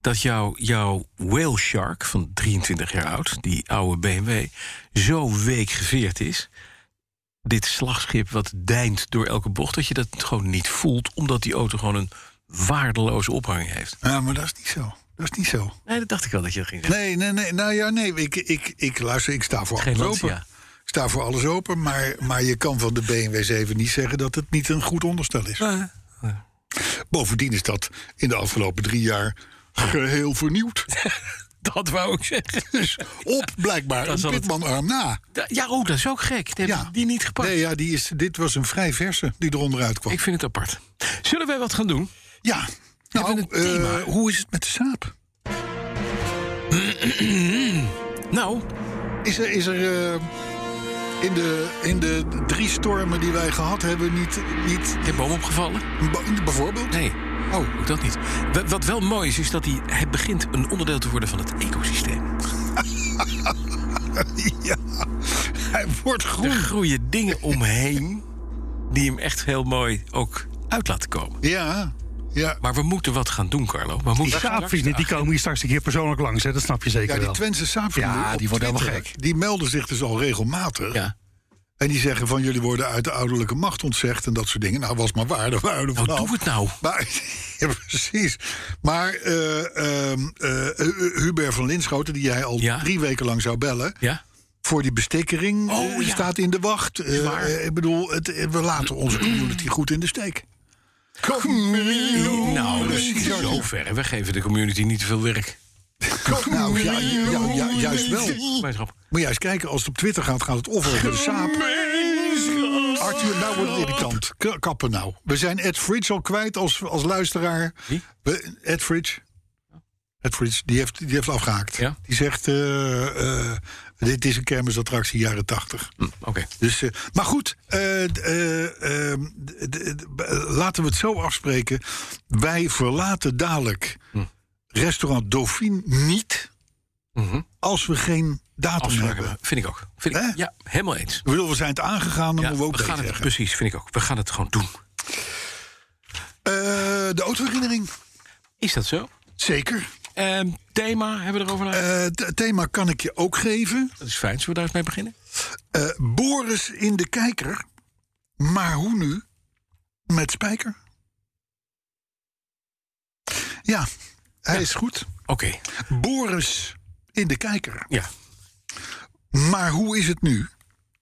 S2: Dat jouw jouw whale shark van 23 jaar oud, die oude BMW, zo week geveerd is. Dit slagschip wat deint door elke bocht, dat je dat gewoon niet voelt, omdat die auto gewoon een waardeloze ophanging heeft.
S3: Ja, maar dat is niet zo. Dat is niet zo.
S2: Nee, dat dacht ik wel dat je dat ging zeggen.
S3: Nee, nee, nee. Nou ja, nee. Ik, ik, ik luister, ik sta voor
S2: Geen
S3: alles
S2: Lancia.
S3: open. Ik sta voor alles open, maar, maar je kan van de BMW 7 niet zeggen dat het niet een goed onderstel is.
S2: Nee.
S3: Bovendien is dat in de afgelopen drie jaar geheel
S2: [laughs]
S3: vernieuwd.
S2: Dat wou ik zeggen.
S3: Dus op blijkbaar
S2: Dat
S3: een
S2: zal het-
S3: pitmanarm na.
S2: Da- Ja, oh, dat is ook gek. Die,
S3: Ja.
S2: die niet gepakt.
S3: Nee, ja, die is, dit was een vrij verse die eronder uitkwam.
S2: Ik vind het apart. Zullen wij wat gaan doen?
S3: ja, nou,
S2: Hebben we een
S3: eh,
S2: thema?
S3: hoe is het met de saap?
S2: Nou,
S3: Is er, is er eh, in, de, in de drie stormen die wij gehad hebben niet... niet
S2: de boom opgevallen?
S3: bo- bijvoorbeeld?
S2: Nee.
S3: Oh,
S2: Ook dat niet. Wa- Wat wel mooi is, is dat hij, hij begint een onderdeel te worden van het ecosysteem.
S3: ja. Hij [laughs] wordt
S2: Er
S3: groen.
S2: groeien dingen omheen die hem echt heel mooi ook uit laten komen.
S3: Ja, ja.
S2: Maar we moeten wat gaan doen, Carlo. We moeten
S4: Die schaapvrienden, die komen hier straks een keer persoonlijk langs, hè? dat snap je zeker
S3: Ja, die
S4: wel.
S3: Twentse saapvrienden
S4: Ja,
S3: op
S4: die worden
S3: Twitter,
S4: helemaal gek.
S3: Die melden zich dus al regelmatig.
S2: Ja.
S3: En die zeggen van jullie worden uit de ouderlijke macht ontzegd en dat soort dingen. Nou, was maar waar. Daar waren we
S2: Nou,
S3: vanaf.
S2: doe het nou.
S3: Maar, [laughs] ja, precies. Maar eh, ehm, eh, Hu- Hubert van Linschoten, die jij al
S2: Ja.
S3: drie weken lang zou bellen...
S2: Ja?
S3: voor die bestikkering
S2: Oh,
S3: eh,
S2: ja.
S3: staat in de wacht. Eh,
S2: waar.
S3: eh, ik bedoel, het, eh, we laten onze community goed in de steek.
S2: Nou, dat is
S3: Community.
S2: zo ver. We geven de community niet te veel werk.
S3: Nou, ja, ja, ja, juist wel.
S2: Gemeenschap.
S3: Moet je eens kijken, als het op Twitter gaat, gaat het of over de saap. Arthur, nou wordt het irritant. K- Kappen nou. We zijn Ed Fridge al kwijt als, als luisteraar.
S2: Wie?
S3: We, Ed Fridge. Ed Fridge, die heeft, die heeft afgehaakt.
S2: Ja?
S3: Die zegt, eh, eh, Dit is een kermisattractie jaren 80.
S2: Hm, Oké.
S3: Dus, eh, maar goed, eh, d- eh, eh, d- d- d- b- laten we het zo afspreken. Wij verlaten dadelijk
S2: Hm.
S3: restaurant Dauphine niet als we geen datum
S2: Afspraken
S3: hebben.
S2: Mhm. hebben. Vind ik ook. Vind ik,
S3: Hè?
S2: ja, helemaal eens.
S3: Ik bedoel, we zijn het aangegaan, dan
S2: Ja,
S3: moeten we ook nee
S2: gaan het,
S3: zeggen.
S2: precies, vind ik ook. We gaan het gewoon doen.
S3: Eh, de autoherinnering,
S2: Is dat zo?
S3: zeker.
S2: Ehm, thema hebben we erover na.
S3: Eh, Het thema kan ik je ook geven.
S2: dat is fijn. Zullen we daar eens mee beginnen?
S3: Eh, Boris in de kijker, maar hoe nu? Met Spijker. Ja, hij is goed.
S2: Oké.
S3: Boris in de kijker.
S2: Ja.
S3: Maar hoe is het nu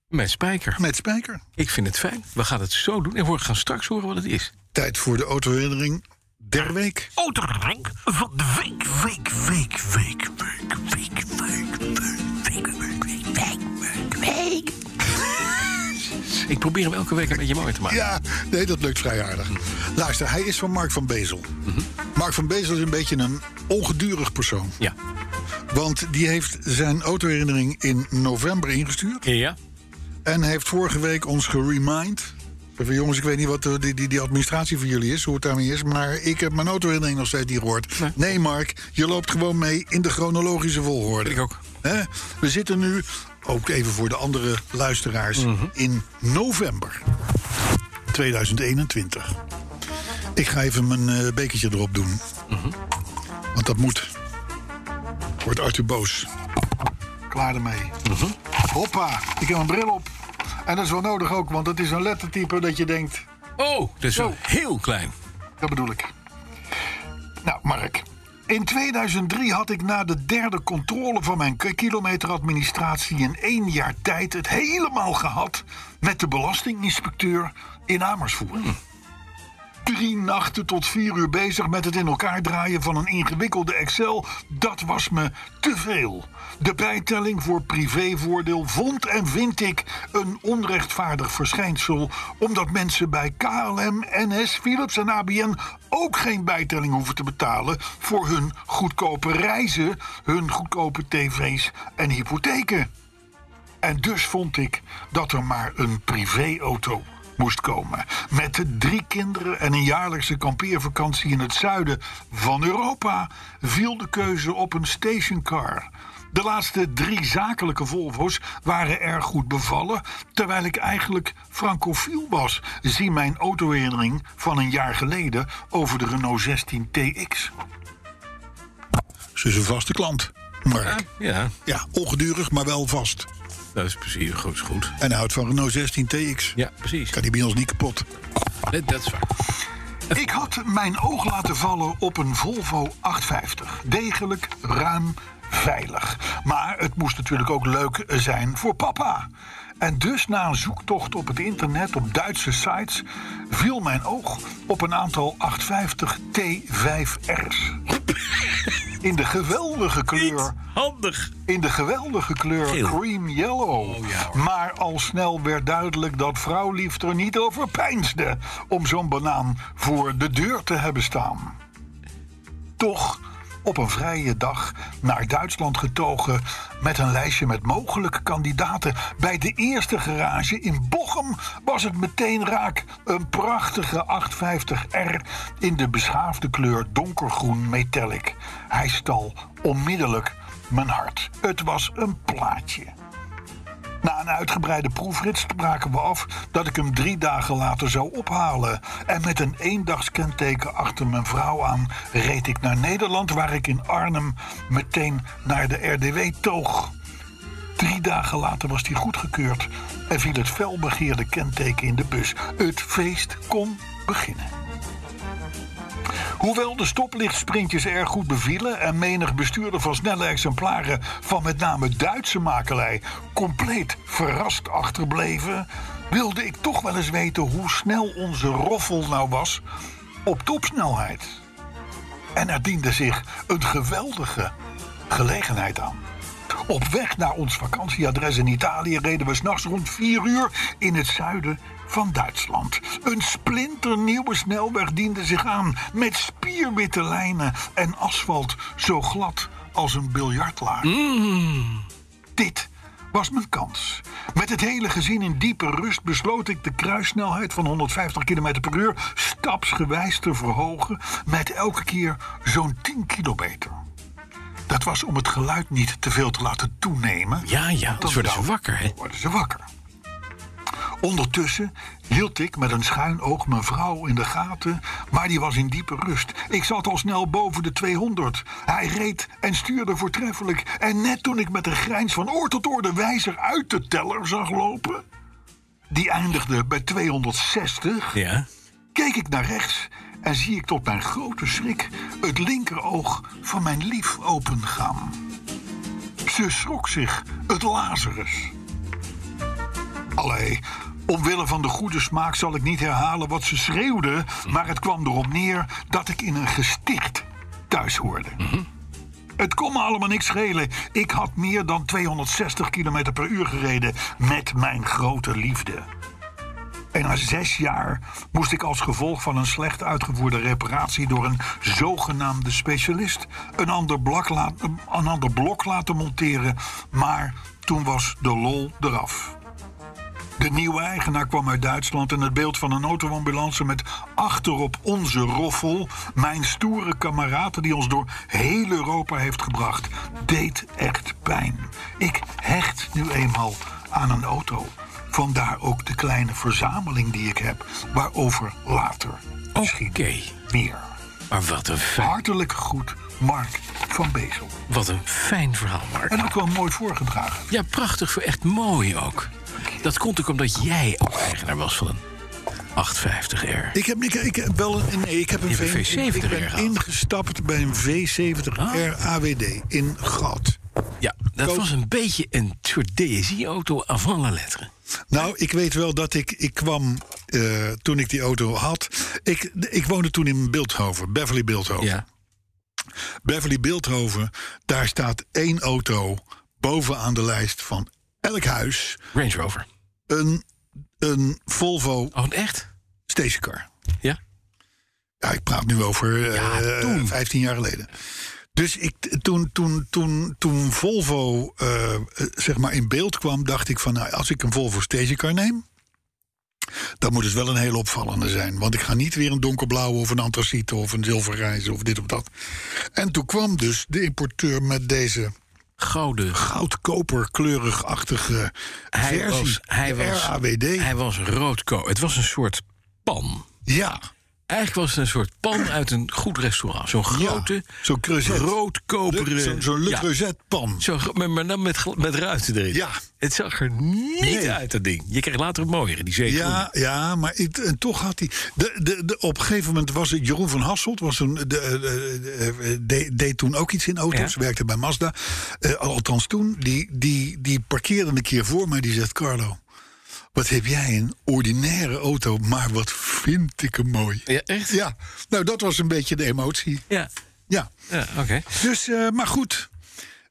S2: Met Spijker.
S3: met Spijker?
S2: Ik vind het fijn. We gaan het zo doen. En we gaan straks horen wat het is.
S3: Tijd voor de autoherinnering der week. [laughs]
S2: Autorenk van de week, week, week, week, week, week, week, week, week, week, week, week. Ik probeer hem elke week een beetje mooier te maken.
S3: Ja, nee, dat lukt vrij aardig. Luister, hij is van Mark van Bezel. Mark van Bezel is een beetje een ongedurig persoon.
S2: Ja.
S3: Want die heeft zijn autoherinnering in november ingestuurd.
S2: Ja.
S3: En heeft vorige week ons geremind. Van, jongens, ik weet niet wat de- die, die, die administratie voor jullie is, hoe het daarmee is. Maar ik heb mijn autoherinnering nog steeds niet gehoord. Nee. Mark, je loopt gewoon mee in de chronologische volgorde.
S2: Ik ook.
S3: Hè? We zitten nu, ook even voor de andere luisteraars,
S2: Mhm.
S3: in november 2021. Ik ga even mijn eh, bekertje erop doen.
S2: Mhm.
S3: Want dat moet. Wordt Arthur boos. Klaar ermee. Hoppa, ik heb mijn bril op. En dat is wel nodig ook, want het is een lettertype dat je denkt...
S2: Oh, dat is wel
S3: Zo.
S2: heel klein.
S3: Dat bedoel ik. Nou, Mark. In 2003 had ik na de derde controle van mijn k- kilometeradministratie in één jaar tijd het helemaal gehad met de belastinginspecteur in Amersfoort. Drie nachten tot vier uur bezig met het in elkaar draaien van een ingewikkelde Excel, dat was me te veel. De bijtelling voor privévoordeel vond en vind ik een onrechtvaardig verschijnsel, omdat mensen bij KLM, NS, Philips en ABN ook geen bijtelling hoeven te betalen voor hun goedkope reizen, hun goedkope tv's en hypotheken. En dus vond ik dat er maar een privéauto moest komen. Met de drie kinderen en een jaarlijkse kampeervakantie in het zuiden van Europa viel de keuze op een stationcar. De laatste drie zakelijke Volvo's waren erg goed bevallen, terwijl ik eigenlijk francofiel was. Zie mijn autoherinnering van een jaar geleden over de Renault 16 TX. Ze is een vaste klant, Mark.
S2: Ja,
S3: Ja, ongedurig, maar wel vast.
S2: dat is precies goed. is goed.
S3: En hij houdt van Renault 16 TX.
S2: Ja, precies.
S3: Kan die bij ons niet kapot.
S2: Dat dat is waar.
S3: Ik had mijn oog laten vallen op een Volvo 850. Degelijk, ruim, veilig. Maar het moest natuurlijk ook leuk eh, zijn voor papa. En dus na een zoektocht op het internet, op Duitse sites... viel mijn oog op een aantal 850 T5R's. In de geweldige kleur
S2: Handig.
S3: in de geweldige kleur
S2: Geel.
S3: cream yellow. maar al snel werd duidelijk dat vrouwliefde er niet over peinsde... om zo'n banaan voor de deur te hebben staan. Toch op een vrije dag naar Duitsland getogen... met een lijstje met mogelijke kandidaten. Bij de eerste garage in Bochum was het meteen raak. Een prachtige 850R in de beschaafde kleur donkergroen metallic. Hij stal onmiddellijk mijn hart. Het was een plaatje. Na een uitgebreide proefrit spraken we af dat ik hem drie dagen later zou ophalen. En met een eendagskenteken achter mijn vrouw aan reed ik naar Nederland, waar ik in Arnhem meteen naar de RDW toog. Drie dagen later was die goedgekeurd en viel het felbegeerde kenteken in de bus. Het feest kon beginnen. Hoewel de stoplichtsprintjes erg goed bevielen en menig bestuurder van snelle exemplaren van met name Duitse makelij compleet verrast achterbleven, wilde ik toch wel eens weten hoe snel onze roffel nou was op topsnelheid. En er diende zich een geweldige gelegenheid aan. Op weg naar ons vakantieadres in Italië reden we s'nachts rond 4 uur in het zuiden van Duitsland. Een splinternieuwe snelweg diende zich aan met spierwitte lijnen en asfalt zo glad als een biljartlaag. Dit was mijn kans. Met het hele gezin in diepe rust besloot ik de kruissnelheid van 150 km per uur stapsgewijs te verhogen met elke keer zo'n 10 kilometer. Dat was om het geluid niet te veel te laten toenemen.
S2: Ja, ja,
S3: want dan
S2: anders worden ze
S3: zou-
S2: wakker, hè?
S3: Worden ze wakker. Ondertussen hield ik met een schuin oog mijn vrouw in de gaten, maar die was in diepe rust. Ik zat al snel boven de 200. Hij reed en stuurde voortreffelijk. En net toen ik met een grijns van oor tot oor de wijzer uit de teller zag lopen, die eindigde bij 260,
S2: Ja.
S3: keek ik naar rechts en zie ik tot mijn grote schrik het linkeroog van mijn lief opengaan. Ze schrok zich, het Lazarus. Allee, omwille van de goede smaak zal ik niet herhalen wat ze schreeuwde, maar het kwam erop neer dat ik in een gesticht thuis hoorde. Het kon me allemaal niks schelen. Ik had meer dan 260 km per uur gereden met mijn grote liefde. En na zes jaar moest ik als gevolg van een slecht uitgevoerde reparatie door een zogenaamde specialist een ander, blok laat- een ander blok laten monteren. Maar toen was de lol eraf. De nieuwe eigenaar kwam uit Duitsland en het beeld van een autoambulance met achterop onze roffel, mijn stoere kameraden die ons door heel Europa heeft gebracht, deed echt pijn. Ik hecht nu eenmaal aan een auto. Vandaar ook de kleine verzameling die ik heb, waarover later
S2: Oké.
S3: misschien meer.
S2: Maar wat een, fijn,
S3: Hartelijk groet, Mark van Bezel.
S2: wat een fijn verhaal, Mark.
S3: En ook wel mooi voorgedragen.
S2: Ja, prachtig. Echt mooi ook. Dat komt ook omdat jij ook eigenaar was van een 850R.
S3: Ik heb, ik, ik heb wel een, nee, ik heb een,
S2: Je hebt een
S3: V- Ik
S2: V70
S3: ben
S2: gehad.
S3: ingestapt bij een V70
S2: Ah.
S3: RAWD in Gat.
S2: Ja, dat
S3: Koop-
S2: was een beetje een soort DSI-auto avant la lettre.
S3: Nou, ik weet wel dat ik, ik kwam eh, toen ik die auto had. Ik, ik woonde toen in Beeldhoven, Beverly Beeldhoven. Beverly Beeldhoven, daar staat één auto bovenaan de lijst van elk huis.
S2: Range Rover.
S3: Een, een Volvo
S2: Oh, echt?
S3: stationcar.
S2: Ja.
S3: Ja, ik praat nu over eh 15 jaar geleden. Dus ik, t- toen, toen, toen, toen Volvo eh, eh, zeg maar in beeld kwam, dacht ik van... Nou, als ik een Volvo stagecar neem, dan moet het wel een heel opvallende zijn. Want ik ga niet weer een donkerblauwe of een antraciet of een zilvergrijze of dit of dat. En toen kwam dus de importeur met deze
S2: Gouden.
S3: goudkoperkleurig-achtige
S2: Hij
S3: versie.
S2: was, hij,
S3: de
S2: was,
S3: RAWD.
S2: hij was roodko. Het was een soort pan.
S3: ja,
S2: Eigenlijk was het een soort pan uit een goed restaurant. Zo'n grote,
S3: zo'n creuset.
S2: roodkoperen...
S3: Zo'n zo'n Le
S2: ja,
S3: Creuset-pan.
S2: zo'n gro- maar, maar dan met, gl- met ruiten erin.
S3: Ja.
S2: Het zag er niet
S3: Nee.
S2: uit, dat ding. Je kreeg later een mooiere, die zeker.
S3: Ja, ja, maar ik- en toch had hij. De, de, de, op een gegeven moment was het Jeroen van Hasselt. Was toen, de, eh, de- de- de- deed toen ook iets in auto's.
S2: Ja.
S3: Werkte bij Mazda. Eh, althans toen. Die, die, die parkeerde een keer voor mij. Die zegt: Carlo, wat heb jij een ordinaire auto. Maar wat vind ik hem mooi.
S2: Ja, echt?
S3: Ja, nou dat was een beetje de emotie.
S2: Ja,
S3: Ja.
S2: ja oké.
S3: Dus, eh, maar goed.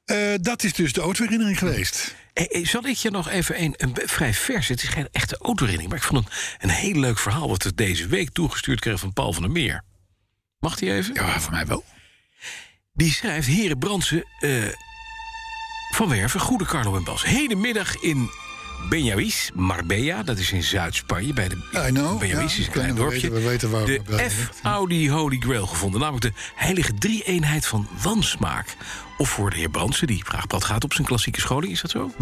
S3: Eh, dat is dus de autoherinnering geweest.
S2: Hey, hey, Eh, zal ik je nog even een, een be- vrij vers, het is geen echte autorinning, maar ik vond een, een heel leuk verhaal wat we deze week toegestuurd kregen van Paul van der Meer. Mag die even?
S3: Ja, voor mij wel.
S2: Die schrijft, heren Brandsen eh, van Werven, goede Carlo en Bas. Hedenmiddag in Benjawis, Marbella, dat is in Zuid-Spanje. Bij de
S3: I know,
S2: Benjawis
S3: ja,
S2: is een klein
S3: we
S2: dorpje.
S3: weten- we weten waar
S2: de
S3: Marbella ligt.
S2: F-Audi Holy Grail gevonden, namelijk de heilige drie-eenheid van wansmaak. Of voor de heer Brandsen, die praagpad gaat op zijn klassieke scholing, is dat zo?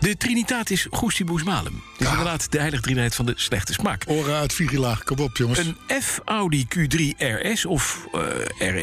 S2: De Trinitatis Gustibus Malum. Dat is inderdaad de heilige drie-eenheid van de slechte smaak.
S3: Ora uit Vigila, kom op jongens.
S2: Een F-Audi Q3 RS of eh,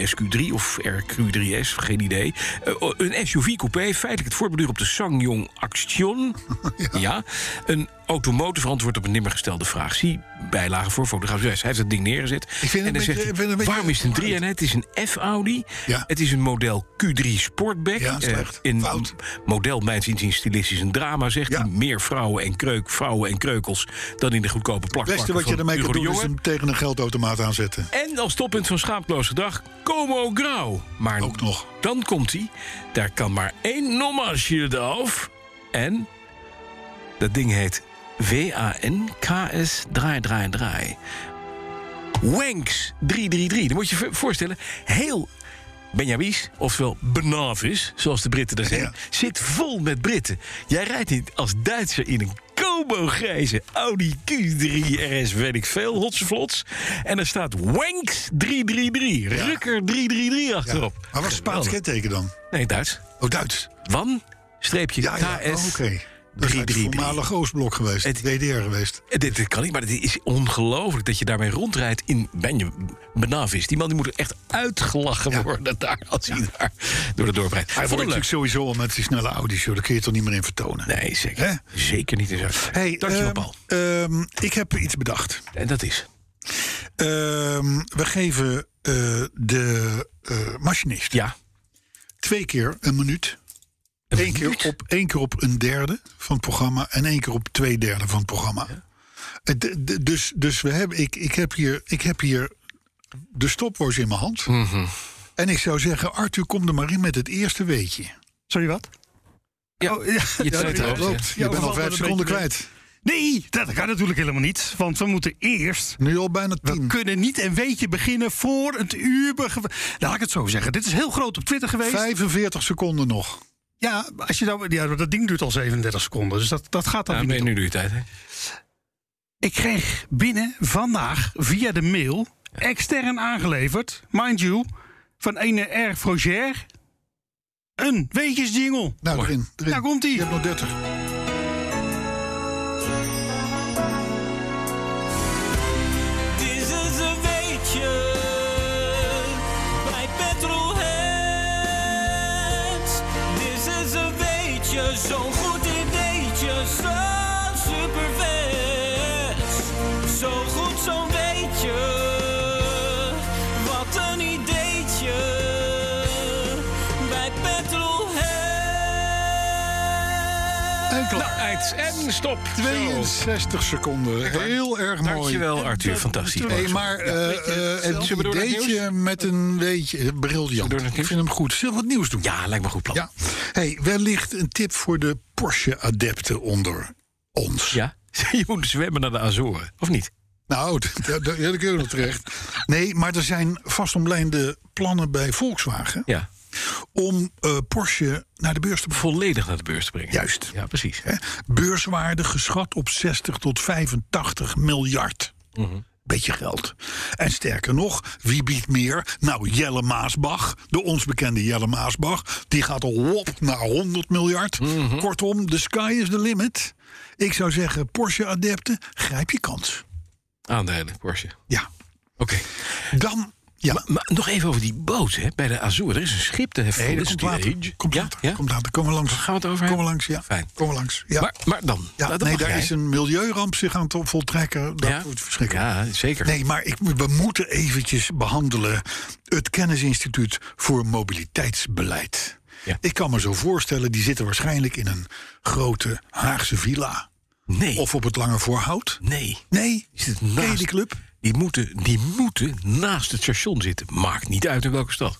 S2: RSQ3 of RQ3S, geen idee. Eh, o- een SUV-coupé, feitelijk het voortbeduur op de Sangyong Action.
S3: [laughs]
S2: ja. Een automotive antwoord op een nimmer gestelde vraag. Zie bijlage voor fotograaf. Hij heeft dat ding neergezet.
S3: vind het
S2: en
S3: een
S2: dan
S3: beetje-
S2: zegt hij,
S3: ik vind het een beetje-
S2: waarom is het een 3 en het is een F-Audi.
S3: Ja.
S2: Het is een model Q3 Sportback.
S3: Ja,
S2: Eh,
S3: slecht.
S2: in
S3: Fout.
S2: model mijns inziens stilistisch een drama, zegt
S3: Ja.
S2: hij. Meer vrouwen en, kreuk, vrouwen en kreukels dan in de goedkope plak.
S3: Het beste wat je ermee kan doen is hem tegen een geldautomaat aanzetten.
S2: En als toppunt van schaamteloos gedrag, Como Grau. Maar
S3: Ook nog.
S2: dan komt hij. Daar kan maar één nommertje af. En dat ding heet WANKS333. Wanks 333. Dan moet je je voorstellen, heel Benjamis, oftewel Benavis, zoals de Britten daar zeggen,
S3: Ja.
S2: zit vol met Britten. Jij rijdt niet als Duitser in een Kobo-grijze Audi Q3 RS, weet ik veel, hotseflots. En er staat Wanks 333, Rukker 333 achterop.
S3: Maar wat is Spaans
S2: Geweldig.
S3: kenteken dan?
S2: Nee, Duits.
S3: Oh, Duits.
S2: Wan, streepje,
S3: Ja, ja.
S2: KS.
S3: Oh, oké. Dat is uit het
S2: 333.
S3: voormalig Oostblok geweest.
S2: Het-
S3: DDR geweest.
S2: Eh, Dit, dit kan niet, maar het is ongelooflijk dat je daarmee rondrijdt in Benje Benavis. Die man die moet er echt uitgelachen
S3: Ja.
S2: worden daar, als hij daar door de dorp rijdt.
S3: Hij wordt
S2: Vond het leuk.
S3: natuurlijk sowieso al met die snelle Audi show. Daar kun je toch niet meer in vertonen.
S2: Nee, zeker.
S3: Hè?
S2: Zeker niet. Eens hey, Dankjewel,
S3: ehm,
S2: Paul.
S3: ehm, ik heb iets bedacht.
S2: En dat is.
S3: Ehm, we geven eh, de eh, machinist
S2: Ja.
S3: twee keer een minuut.
S2: Een
S3: Eén keer,
S2: minuut.
S3: op, één keer op een derde van het programma en één keer op twee derde van het programma. Het- de- de- dus dus we hebben, ik, ik, heb hier, ik heb hier de stopwatch in mijn hand.
S2: Mhm.
S3: En ik zou zeggen, Arthur, kom er maar in met het eerste weetje.
S4: Sorry, wat?
S2: Ja.
S4: Oh, ja.
S2: Je
S3: Ja,
S2: tweede
S3: dat
S2: hoofd,
S3: loopt.
S2: ja.
S3: Je bent al
S4: valt wel
S3: vijf
S4: een
S3: seconden
S4: beetje
S3: kwijt.
S4: Nee, dat kan natuurlijk helemaal niet. Want we moeten eerst
S3: Nu al bijna
S4: We
S3: tien.
S4: kunnen niet een weetje beginnen voor het uur. bege- Laat ik het zo zeggen. Dit is heel groot op Twitter geweest.
S3: 45 seconden nog.
S4: Ja, als je nou, ja, dat ding duurt al 37 seconden. Dus dat, dat gaat dan
S2: Ja,
S4: weer
S2: nee,
S4: niet.
S2: nu doe je tijd. Hè?
S4: Ik kreeg binnen vandaag via de mail, extern aangeleverd, mind you, van ene R. Froger, een weetjesjingle.
S3: Nou, erin. erin.
S4: Daar komt
S3: Je
S4: ie.
S3: hebt nog 30.
S1: Dit is een weetje bij Petrolheads. Dit is een weetje, zo'n goed ideetje, zo super Zo goed zo'n weetje, wat een ideetje bij Petrolheads.
S3: En klaar.
S2: Nou, Uit en stop. Zo.
S3: 62 seconden. Heel erg mooi.
S2: Dankjewel, Arthur. Fantastisch.
S3: Hey, maar eh eh,
S2: Zullen we door naar
S3: een
S2: het
S3: ideetje met een weetje. eh, Briljant.
S2: door naar het
S3: Ik
S2: nieuws?
S3: vind hem goed. Zullen we wat nieuws doen?
S2: Ja, lijkt me goed plan.
S3: Ja. Hey, wellicht een tip voor de Porsche-adepten onder ons.
S2: Ja? [laughs] Je moet zwemmen naar de Azoren, of niet?
S3: Nou, [laughs] d- d- d- ja, dat kun je nog terecht. Nee, maar er zijn vastomlijnde plannen bij Volkswagen...
S2: Ja.
S3: om eh, Porsche naar de beurs te brengen.
S2: Volledig naar de beurs te brengen.
S3: Juist.
S2: Ja, precies.
S3: Hè? Beurswaarde geschat op 60 tot 85 miljard.
S2: Mhm.
S3: Beetje geld. En sterker nog, wie biedt meer? Nou, Jelle Maasbach, de ons bekende Jelle Maasbach. Die gaat al op naar 100 miljard.
S2: Mhm.
S3: Kortom, the sky is the limit. Ik zou zeggen, Porsche-adepten, grijp je kans.
S2: Aandelen, Porsche. Oké.
S3: Ja, dan... Ja,
S2: Maar nog even over die boot hè, bij de Azur. Er is een schip te heffen.
S3: nee, dat
S2: Is
S3: komt
S2: die
S3: later.
S2: Age?
S3: Komt
S2: ja?
S3: later,
S2: Ja?
S3: komt later. Komen we langs.
S2: Gaan we het
S3: Komen we
S2: over hebben?
S3: langs, ja.
S2: Fijn.
S3: Komen we langs, ja.
S2: Maar, maar dan?
S3: ja,
S2: Nou, dat
S3: nee,
S2: mag
S3: daar
S2: jij.
S3: is een milieuramp zich aan het voltrekken. Dat
S2: ja?
S3: wordt verschrikkelijk.
S2: Ja, zeker.
S3: Nee, maar ik, we moeten eventjes behandelen het Kennisinstituut voor Mobiliteitsbeleid.
S2: Ja.
S3: Ik kan me zo voorstellen, die zitten waarschijnlijk in een grote Haagse villa.
S2: Nee.
S3: Of op het Lange Voorhout.
S2: nee.
S3: Nee,
S2: Is het
S3: Ken je
S2: naast,
S3: die club?
S2: die, moeten, die moeten naast het station zitten. Maakt niet uit in welke stad.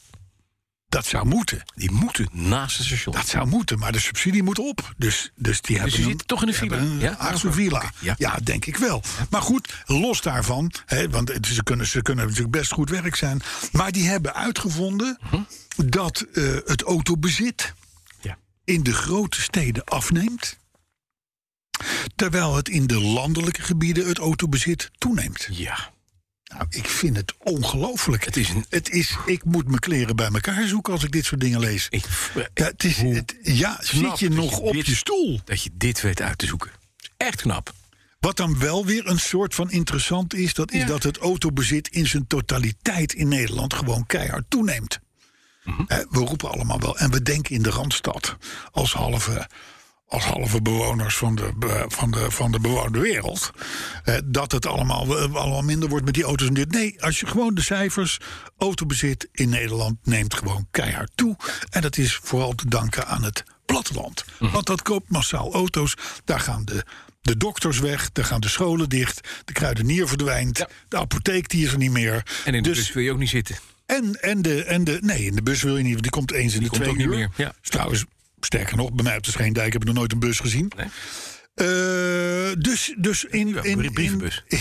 S3: Dat zou moeten.
S2: Die moeten naast het station.
S3: Dat zou moeten, maar de subsidie moet op. Dus, dus die hebben
S2: je
S3: een-
S2: zit toch in de file?
S3: hebben Een
S2: Ja? eh,
S3: Haagse villa.
S2: ja.
S3: ja. denk ik wel. Maar goed, los daarvan, hè, want het, ze, kunnen, ze kunnen natuurlijk best goed werk zijn. Maar die hebben uitgevonden
S2: Mhm.
S3: dat eh, het autobezit
S2: Ja.
S3: in de grote steden afneemt. Terwijl het in de landelijke gebieden het autobezit toeneemt.
S2: ja.
S3: Nou, ik vind het ongelooflijk.
S2: Het is een...
S3: Het is, ik moet mijn kleren bij elkaar zoeken als ik dit soort dingen lees.
S2: Ik,
S3: Ja, het is,
S2: Hoe
S3: het- ja zit
S2: knap
S3: je
S2: dat
S3: nog
S2: je
S3: op
S2: dit-
S3: je stoel?
S2: dat je dit weet uit te zoeken. Echt knap.
S3: Wat dan wel weer een soort van interessant is, dat is
S2: Ja.
S3: dat het autobezit in zijn totaliteit in Nederland gewoon keihard toeneemt. Eh, We roepen allemaal wel en we denken in de randstad als halve, als halve bewoners van de, be- van, de, van de bewoonde wereld. eh, Dat het allemaal, eh, allemaal minder wordt met die auto's en dit. Nee, als je gewoon de cijfers. Autobezit in Nederland neemt gewoon keihard toe. En dat is vooral te danken aan het platteland.
S2: Mhm.
S3: Want dat koopt massaal auto's. Daar gaan de, de dokters weg, daar gaan de scholen dicht. De kruidenier verdwijnt. De apotheek die is er niet meer.
S2: En in de
S3: dus
S2: bus wil je ook niet zitten.
S3: en, en, de, en de. Nee, in de bus wil je niet, want die komt eens in de
S2: komt
S3: twee
S2: ook niet
S3: uur.
S2: meer, ja.
S3: Is Trouwens, sterker nog, bij mij op de Scheendijk heb ik nog nooit een bus gezien.
S2: Nee.
S3: Eh, dus, dus in.
S2: Ja,
S3: in, in
S2: brie- brievenbus.
S3: In,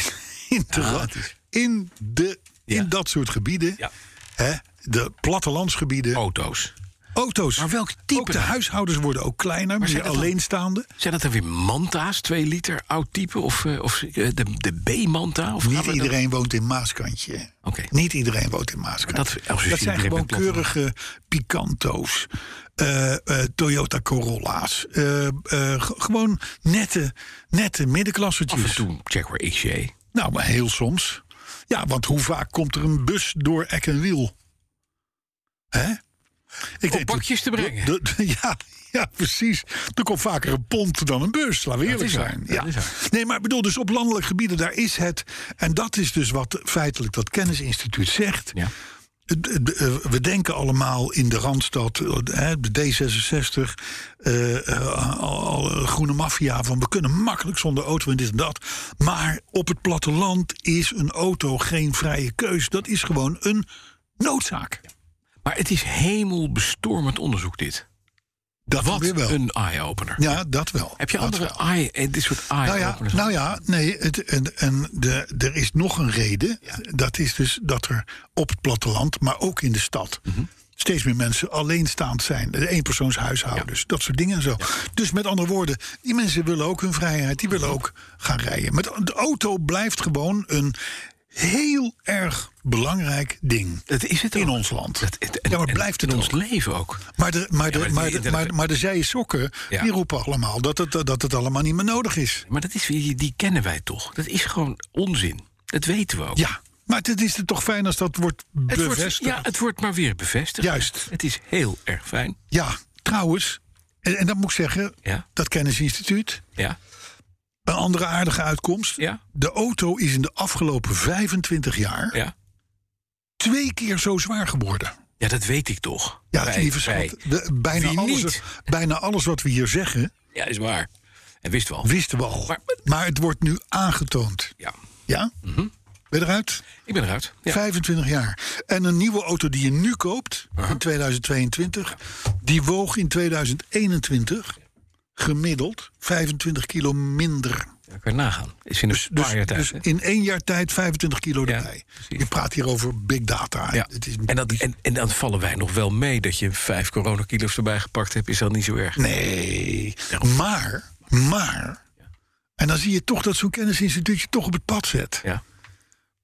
S3: in, de,
S2: Ja, het is-
S3: in, de, in dat soort gebieden.
S2: Ja.
S3: Hè, de plattelandsgebieden
S2: Auto's.
S3: auto's.
S2: Maar welk type
S3: Ook de
S2: dan?
S3: huishoudens worden ook kleiner,
S2: zijn
S3: meer
S2: dat dan-
S3: alleenstaande.
S2: Zijn dat dan weer manta's, 2 liter, oud type? Of, eh, of eh, de, de B-manta? Of gaan
S3: Niet
S2: we dan-
S3: iedereen woont in Maaskantje.
S2: Oké.
S3: Niet iedereen woont in Maaskantje.
S2: Dat- als je
S3: Dat
S2: ziet,
S3: zijn
S2: iedereen
S3: gewoon
S2: bent platteland.
S3: keurige Picanto's, eh, eh, Toyota Corolla's. eh, eh, ge- gewoon nette, nette middenklassetjes.
S2: Af en toe Jaguar XJ.
S3: Nou, maar heel soms. Ja, want hoe vaak komt er een bus door Eck en Wiel? Hè? Ik
S2: Om pakjes te brengen.
S3: de- de- [laughs] ja, ja, precies. Er komt vaker een pont dan een bus, laten we eerlijk
S2: is waar,
S3: zijn.
S2: dat
S3: Ja.
S2: is waar.
S3: Nee, maar ik bedoel, dus op landelijk gebieden, daar is het. En dat is dus wat feitelijk dat kennisinstituut zegt.
S2: Ja.
S3: Het- het- eh, We denken allemaal in de Randstad, eh, hè, de D66, eh, eh, al- al- groene maffia, van we kunnen makkelijk zonder auto en dit en dat. Maar op het platteland is een auto geen vrije keus. Dat is gewoon een noodzaak.
S2: Maar het is hemelbestormend onderzoek dit.
S3: Dat
S2: Wat
S3: weer wel.
S2: een eye-opener.
S3: Ja, dat wel.
S2: Heb je
S3: Dat
S2: andere eye, eh, dit soort
S3: Nou ja,
S2: eye-openers?
S3: nou ja, nee, het, en, en de, er is nog een reden. Dat is dus dat er op het platteland, maar ook in de stad...
S2: Mhm.
S3: steeds meer mensen alleenstaand zijn. De eenpersoonshuishoudens, dat soort dingen en zo. Dus met andere woorden, die mensen willen ook hun vrijheid. Die
S2: Mhm.
S3: willen ook gaan rijden. Met, de auto blijft gewoon een heel erg belangrijk ding.
S2: dat is het
S3: in
S2: ook.
S3: ons land.
S2: Dat, het-
S3: Ja, maar
S2: en-
S3: blijft
S2: in
S3: het
S2: ons
S3: ook?
S2: leven ook.
S3: Maar de, maar de,
S2: maar die
S3: maar de,
S2: internet-
S3: maar, maar de zijen sokken,
S2: Ja.
S3: die roepen allemaal... Dat het, dat het allemaal niet meer nodig is.
S2: Maar dat is, weer- die, die kennen wij toch. Dat is gewoon onzin. Dat weten we ook.
S3: Ja, maar het is toch fijn als dat wordt
S2: het
S3: bevestigd?
S2: wordt, ja, het wordt maar weer bevestigd.
S3: Juist.
S2: Het is heel erg fijn.
S3: Ja, trouwens, en, en dat moet ik zeggen,
S2: Ja,
S3: dat kennisinstituut...
S2: ja,
S3: een andere aardige uitkomst.
S2: ja,
S3: De auto is in de afgelopen 25 jaar
S2: ja.
S3: twee keer zo zwaar geworden.
S2: Ja, dat weet ik toch.
S3: Ja,
S2: Wij-
S3: lieve
S2: wij-
S3: schat, we- bijna,
S2: Wie
S3: alles,
S2: niet?
S3: bijna alles wat we hier zeggen,
S2: Ja, is waar. En wist wel.
S3: wisten we al.
S2: Maar-
S3: Maar het wordt nu aangetoond.
S2: Ja,
S3: Ja?
S2: Mhm.
S3: Ben je eruit?
S2: ik ben eruit. Ja.
S3: 25 jaar. En een nieuwe auto die je nu koopt, in 2022, die woog in 2021 gemiddeld 25 kilo minder.
S2: Ja, kan je nagaan. Is in een
S3: Dus,
S2: paar
S3: dus,
S2: jaar tijd.
S3: dus
S2: hè?
S3: in één jaar tijd 25 kilo
S2: Ja,
S3: erbij.
S2: precies.
S3: Je praat hier over big data.
S2: ja.
S3: Het is
S2: en, dat, en, en dan vallen wij nog wel mee dat je vijf coronakilo's erbij gepakt hebt. Is dat niet zo erg?
S3: Nee, maar, maar... En dan zie je toch dat zo'n kennisinstituut je toch op het pad zet.
S2: Ja.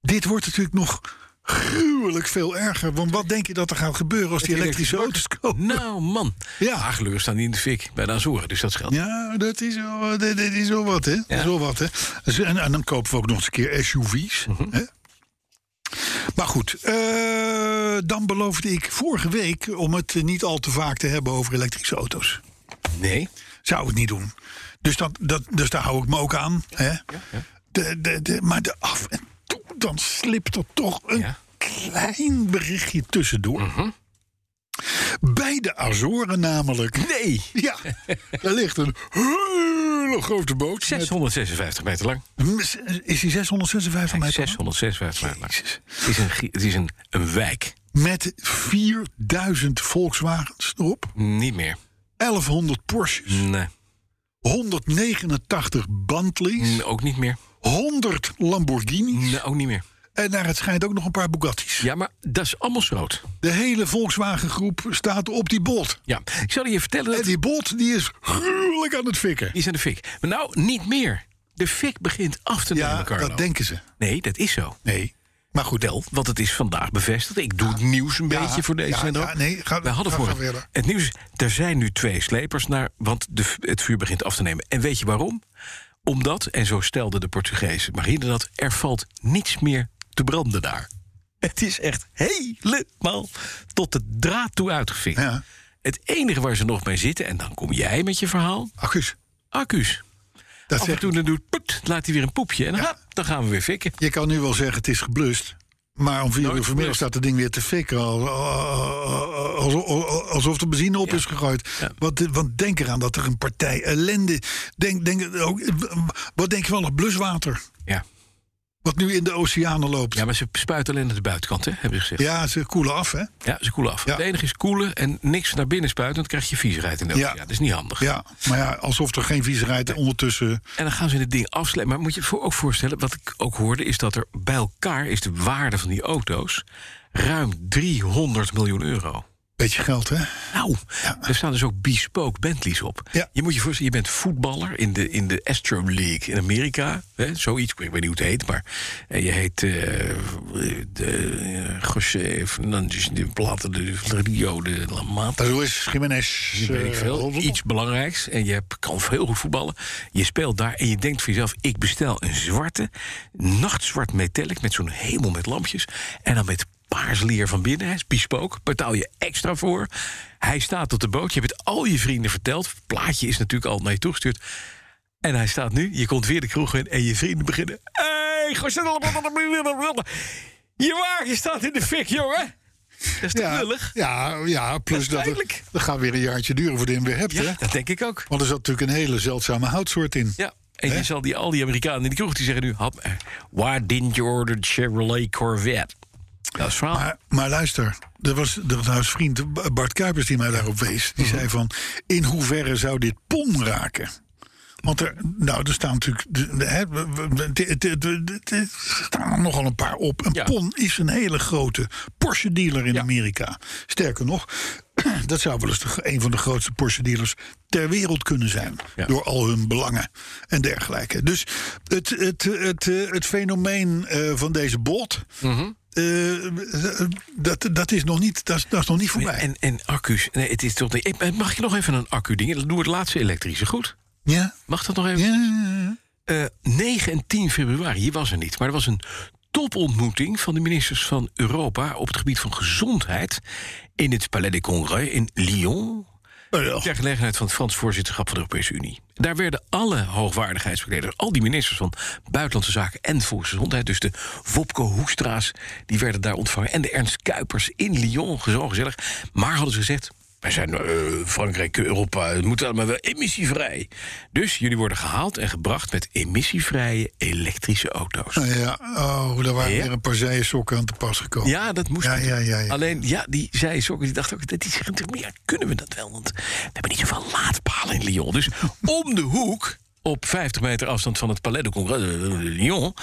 S3: Dit wordt natuurlijk nog gruwelijk veel erger. Want wat denk je dat er gaat gebeuren als die elektrische auto's komen?
S2: Nou, man.
S3: Ja.
S2: Hageleur staan niet in de fik bij de Azoren, dus dat scheelt.
S3: Ja, dat is wel, dat, dat is wel wat, hè? Dat is wel wat, hè? Dus, en, en dan kopen we ook nog eens een keer SUV's. hè? Maar goed, eh, dan beloofde ik vorige week om het eh, niet al te vaak te hebben over elektrische auto's.
S2: Nee.
S3: Zou ik niet doen. Dus, dat, dat, dus daar hou ik me ook aan. Hè? De, de, de, maar de af en toe dan slipt er toch een
S2: Ja. Mhm.
S3: klein berichtje tussendoor. Bij de Azoren namelijk.
S2: Nee. [laughs]
S3: Ja, daar ligt een hele grote boot. met-
S2: 656 meter lang.
S3: Is die 656 meter? lang?
S2: 656 meter lang.
S3: Jezus.
S2: Het is, een, gi- het is een, een wijk.
S3: Met 4000 Volkswagens erop,
S2: Niet meer.
S3: 1100 Porsches,
S2: Nee.
S3: 189 Bentleys,
S2: Nee, Ook niet meer.
S3: 100 Lamborghinis
S2: Nee, ook niet meer.
S3: en naar het schijnt ook nog een paar Bugattis.
S2: Ja, maar dat is allemaal schroot.
S3: De hele Volkswagen groep staat op die boot.
S2: Ja. Ik zal je vertellen
S3: En
S2: dat
S3: die boot die is gruwelijk aan het fikken.
S2: Die zijn de fik. Maar nou, niet meer. De fik begint af te
S3: Ja,
S2: nemen, Carlo.
S3: dat denken ze.
S2: Nee, dat is zo.
S3: Nee. Maar goed,
S2: Wel, want het is vandaag bevestigd. Ik doe het nieuws een
S3: Ja,
S2: beetje voor deze
S3: ja, nou,
S2: zender.
S3: ja, nee, ga-
S2: We hadden
S3: ga-
S2: voor
S3: ga verder.
S2: het nieuws. Er zijn nu twee slepers naar, want de, v- het vuur begint af te nemen. En weet je waarom? Omdat, en zo stelde de Portugese marine dat, er valt niets meer te branden daar. Het is echt helemaal tot de draad toe uitgevikt.
S3: Ja.
S2: Het enige waar ze nog mee zitten, en dan kom jij met je verhaal,
S3: accu's.
S2: accu's.
S3: Dat
S2: Af en
S3: zegt
S2: toe dan doet put, laat hij weer een poepje. En dan, hap, dan gaan we weer fikken.
S3: Je kan nu wel zeggen het is geblust. Maar om vier uur vanmiddag
S2: geblust.
S3: staat het ding weer te fikken. al- al- al- al- Alsof de benzine op is gegooid. Want, eh, want denk eraan dat er een partij ellende... Denk, denk, ook, wat denk je wel nog bluswater?
S2: Ja.
S3: Wat nu in de oceanen loopt.
S2: ja,
S3: Ja,
S2: maar ze spuiten alleen naar de buitenkant, hè, hebben ze gezegd. Ja,
S3: ze koelen af, hè?
S2: ze koelen af.
S3: Ja.
S2: Het enige is koelen en niks naar binnen spuiten... dan krijg je viezigheid in de
S3: Ja.
S2: ja. Dat is niet handig.
S3: Ja, maar ja, alsof er geen viezigheid ondertussen...
S2: En dan gaan ze het ding afsluiten. Maar moet je je voor ook voorstellen, wat ik ook hoorde... is dat er bij elkaar is de waarde van die auto's... Ruim 300 miljoen euro.
S3: Beetje geld, hè?
S2: Nou, er staan dus ook bespoke Bentleys op.
S3: Ja.
S2: Je moet je voorstellen, je bent voetballer in de, in de Astro League in Amerika. Hè, zoiets, ik weet niet hoe het heet, maar eh, je heet eh de, eh, José Fernandez de Plata, de Rio de La Mata.
S3: Dat is hoe is Jiménez.
S2: Weet
S3: eh,
S2: ik veel,
S3: Rodel?
S2: iets belangrijks. En je hebt, kan heel goed voetballen. Je speelt daar en je denkt voor jezelf... ik bestel een zwarte, nachtzwart metallic... met zo'n hemel met lampjes. En dan met paars leer van binnen. Hij is bespook, betaal je extra voor. Hij staat op de boot. Je hebt het al je vrienden verteld. Het plaatje is natuurlijk al naar je toegestuurd. En hij staat nu. Je komt weer de kroeg in en je vrienden beginnen... Hey, goh, zet allemaal- je wagen staat in de fik, jongen. Dat is toch
S3: Ja,
S2: lullig?
S3: ja, ja, plus
S2: Dat is
S3: dat, het,
S2: pijnlijk.
S3: dat gaat weer een jaartje duren voordat je hem weer hebt, hè?
S2: Ja, dat denk ik ook.
S3: Want er zat natuurlijk een hele zeldzame houtsoort in.
S2: Ja. En je zal die, al die Amerikanen in de kroeg die zeggen nu... hap, eh, Why didn't you order the Chevrolet Corvette? Dat is het verhaal.
S3: Maar, maar luister, er was er was vriend Bart Kuipers die mij daarop wees.
S2: Mhm.
S3: Die zei van, in hoeverre zou dit pom raken? Want er, nou, er staan natuurlijk... de- de- hè, we- we- we- de- de- de- de- de- Er staan er nogal een paar op. Een
S2: Ja.
S3: pon is een hele grote Porsche-dealer in
S2: Ja.
S3: Amerika. Sterker nog, [clears throat] dat zou wel eens de- een van de grootste Porsche-dealers ter wereld kunnen zijn.
S2: Ja.
S3: Door al hun belangen en dergelijke. Dus het, het, het, eh, het fenomeen eh, van deze bot...
S2: Mhm.
S3: Eh, eh, dat, dat, is nog niet, dat, is- dat is nog niet voorbij.
S2: en, en accu's. Nee, het is toch niet... eh, Mag je nog even een accu-ding? Dan doe het laatste elektrische. Goed?
S3: ja?
S2: Mag dat nog even?
S3: Ja.
S2: Eh, 9 en 10 februari, je was er niet, maar er was een topontmoeting van de ministers van Europa op het gebied van gezondheid in het Palais des Congrès in Lyon.
S3: Oh,
S2: Ter gelegenheid van het Frans voorzitterschap van de Europese Unie. Daar werden alle hoogwaardigheidsbekleders, al die ministers van Buitenlandse Zaken en Volksgezondheid, dus de Wopke Hoestra's, die werden daar ontvangen. En de Ernst Kuipers in Lyon, zo gezellig. Maar hadden ze gezegd, wij zijn eh, Frankrijk, Europa, het moet allemaal wel emissievrij. Dus jullie worden gehaald en gebracht met emissievrije elektrische auto's.
S3: ja, oh, daar waren
S2: Ja.
S3: weer een paar zijen sokken aan te pas gekomen.
S2: Ja, dat moest.
S3: Ja, ja, ja, ja.
S2: Alleen, ja, die zei Sokken, die dacht ook, dat is natuurlijk meer. Kunnen we dat wel? Want we hebben niet zoveel laadpalen in Lyon. Dus om de hoek, op 50 meter afstand van het Palais de Congrès de Lyon,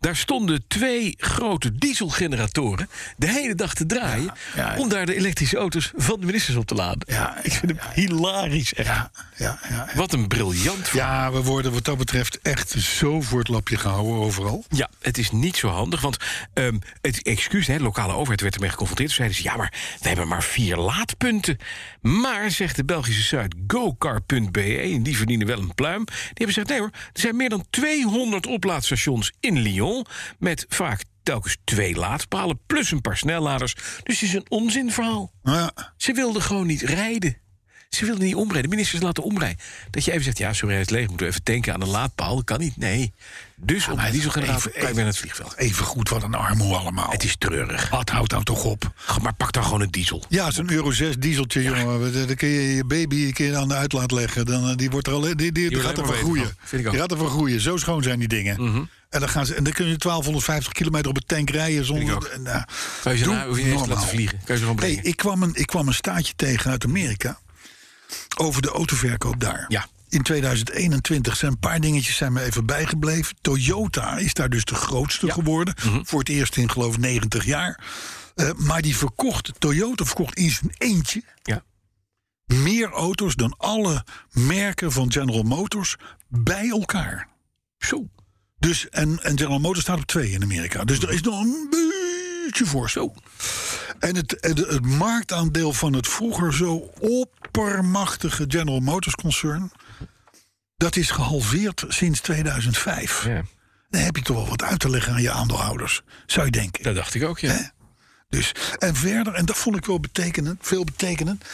S2: daar stonden twee grote dieselgeneratoren de hele dag te draaien
S3: ja, ja.
S2: om daar de elektrische auto's van de ministers op te laden.
S3: Ja,
S2: ik vind hem hilarisch echt.
S3: Ja, ja.
S2: Wat een briljant verhaal.
S3: ja, we worden wat dat betreft echt zo voor het lapje gehouden overal.
S2: Ja, het is niet zo handig, want ehm, het excuus, hè, de lokale overheid werd ermee geconfronteerd. Toen zeiden ze, ja, maar we hebben maar vier laadpunten. Maar, zegt de Belgische site gocar.be, en die verdienen wel een pluim... die hebben gezegd, nee hoor, er zijn meer dan 200 oplaadstations in Lyon... met vaak telkens twee laadpalen, plus een paar snelladers. Dus het is een onzinverhaal.
S3: Ja,
S2: Ze wilden gewoon niet rijden. Ze wilden niet omrijden. De ministers laten omrijden. Dat je even zegt, ja, sorry, hij is leeg. Moeten we even tanken aan een laadpaal? Dat kan niet. Nee. Dus op die dieselgenerator
S3: even-
S2: kan je weer naar het vliegveld.
S3: even goed wat een armoe allemaal.
S2: Het is treurig.
S3: Wat houdt nou toch op?
S2: Maar pak dan gewoon een diesel.
S3: Ja, zo'n euro 6 dieseltje, jongen. Dan kun je je baby een keer aan de uitlaat leggen. Dan, eh, die wordt er al, die, die, die
S2: wordt
S3: gaat
S2: alleen
S3: ervan
S2: maar beter
S3: groeien.
S2: van. Mhm. Vind ik
S3: Die
S2: ook.
S3: gaat ervan groeien. Zo schoon zijn die dingen. en, dan gaan ze, en dan kun je 1250 kilometer op een tank rijden zonder...
S2: Vind ik
S3: en, nou,
S2: Kan je ze
S3: doe
S2: nou, hoef je niet eens te laten
S3: normaal.
S2: vliegen. Kan je ze gewoon
S3: Hey,
S2: brengen.
S3: ik, kwam een, ik kwam een staatje tegen uit Amerika over de autoverkoop daar.
S2: Ja.
S3: In 2021 zijn een paar dingetjes zijn me even bijgebleven. Toyota is daar dus de grootste geworden.
S2: Mhm.
S3: Voor het eerst in geloof 90 jaar. Eh, maar die verkocht, Toyota verkocht in zijn eentje
S2: Ja.
S3: meer auto's dan alle merken van General Motors bij elkaar.
S2: Zo.
S3: Dus, en, en General Motors staat op twee in Amerika. Dus er is nog een beetje voor.
S2: Zo.
S3: En het, en het marktaandeel van het vroeger zo oppermachtige General Motors concern... dat is gehalveerd sinds 2005.
S2: Ja.
S3: Dan heb je toch wel wat uit te leggen aan je aandeelhouders, zou je denken.
S2: Dat dacht ik ook, ja.
S3: Dus, en verder, en dat vond ik wel betekenend, veel betekenend...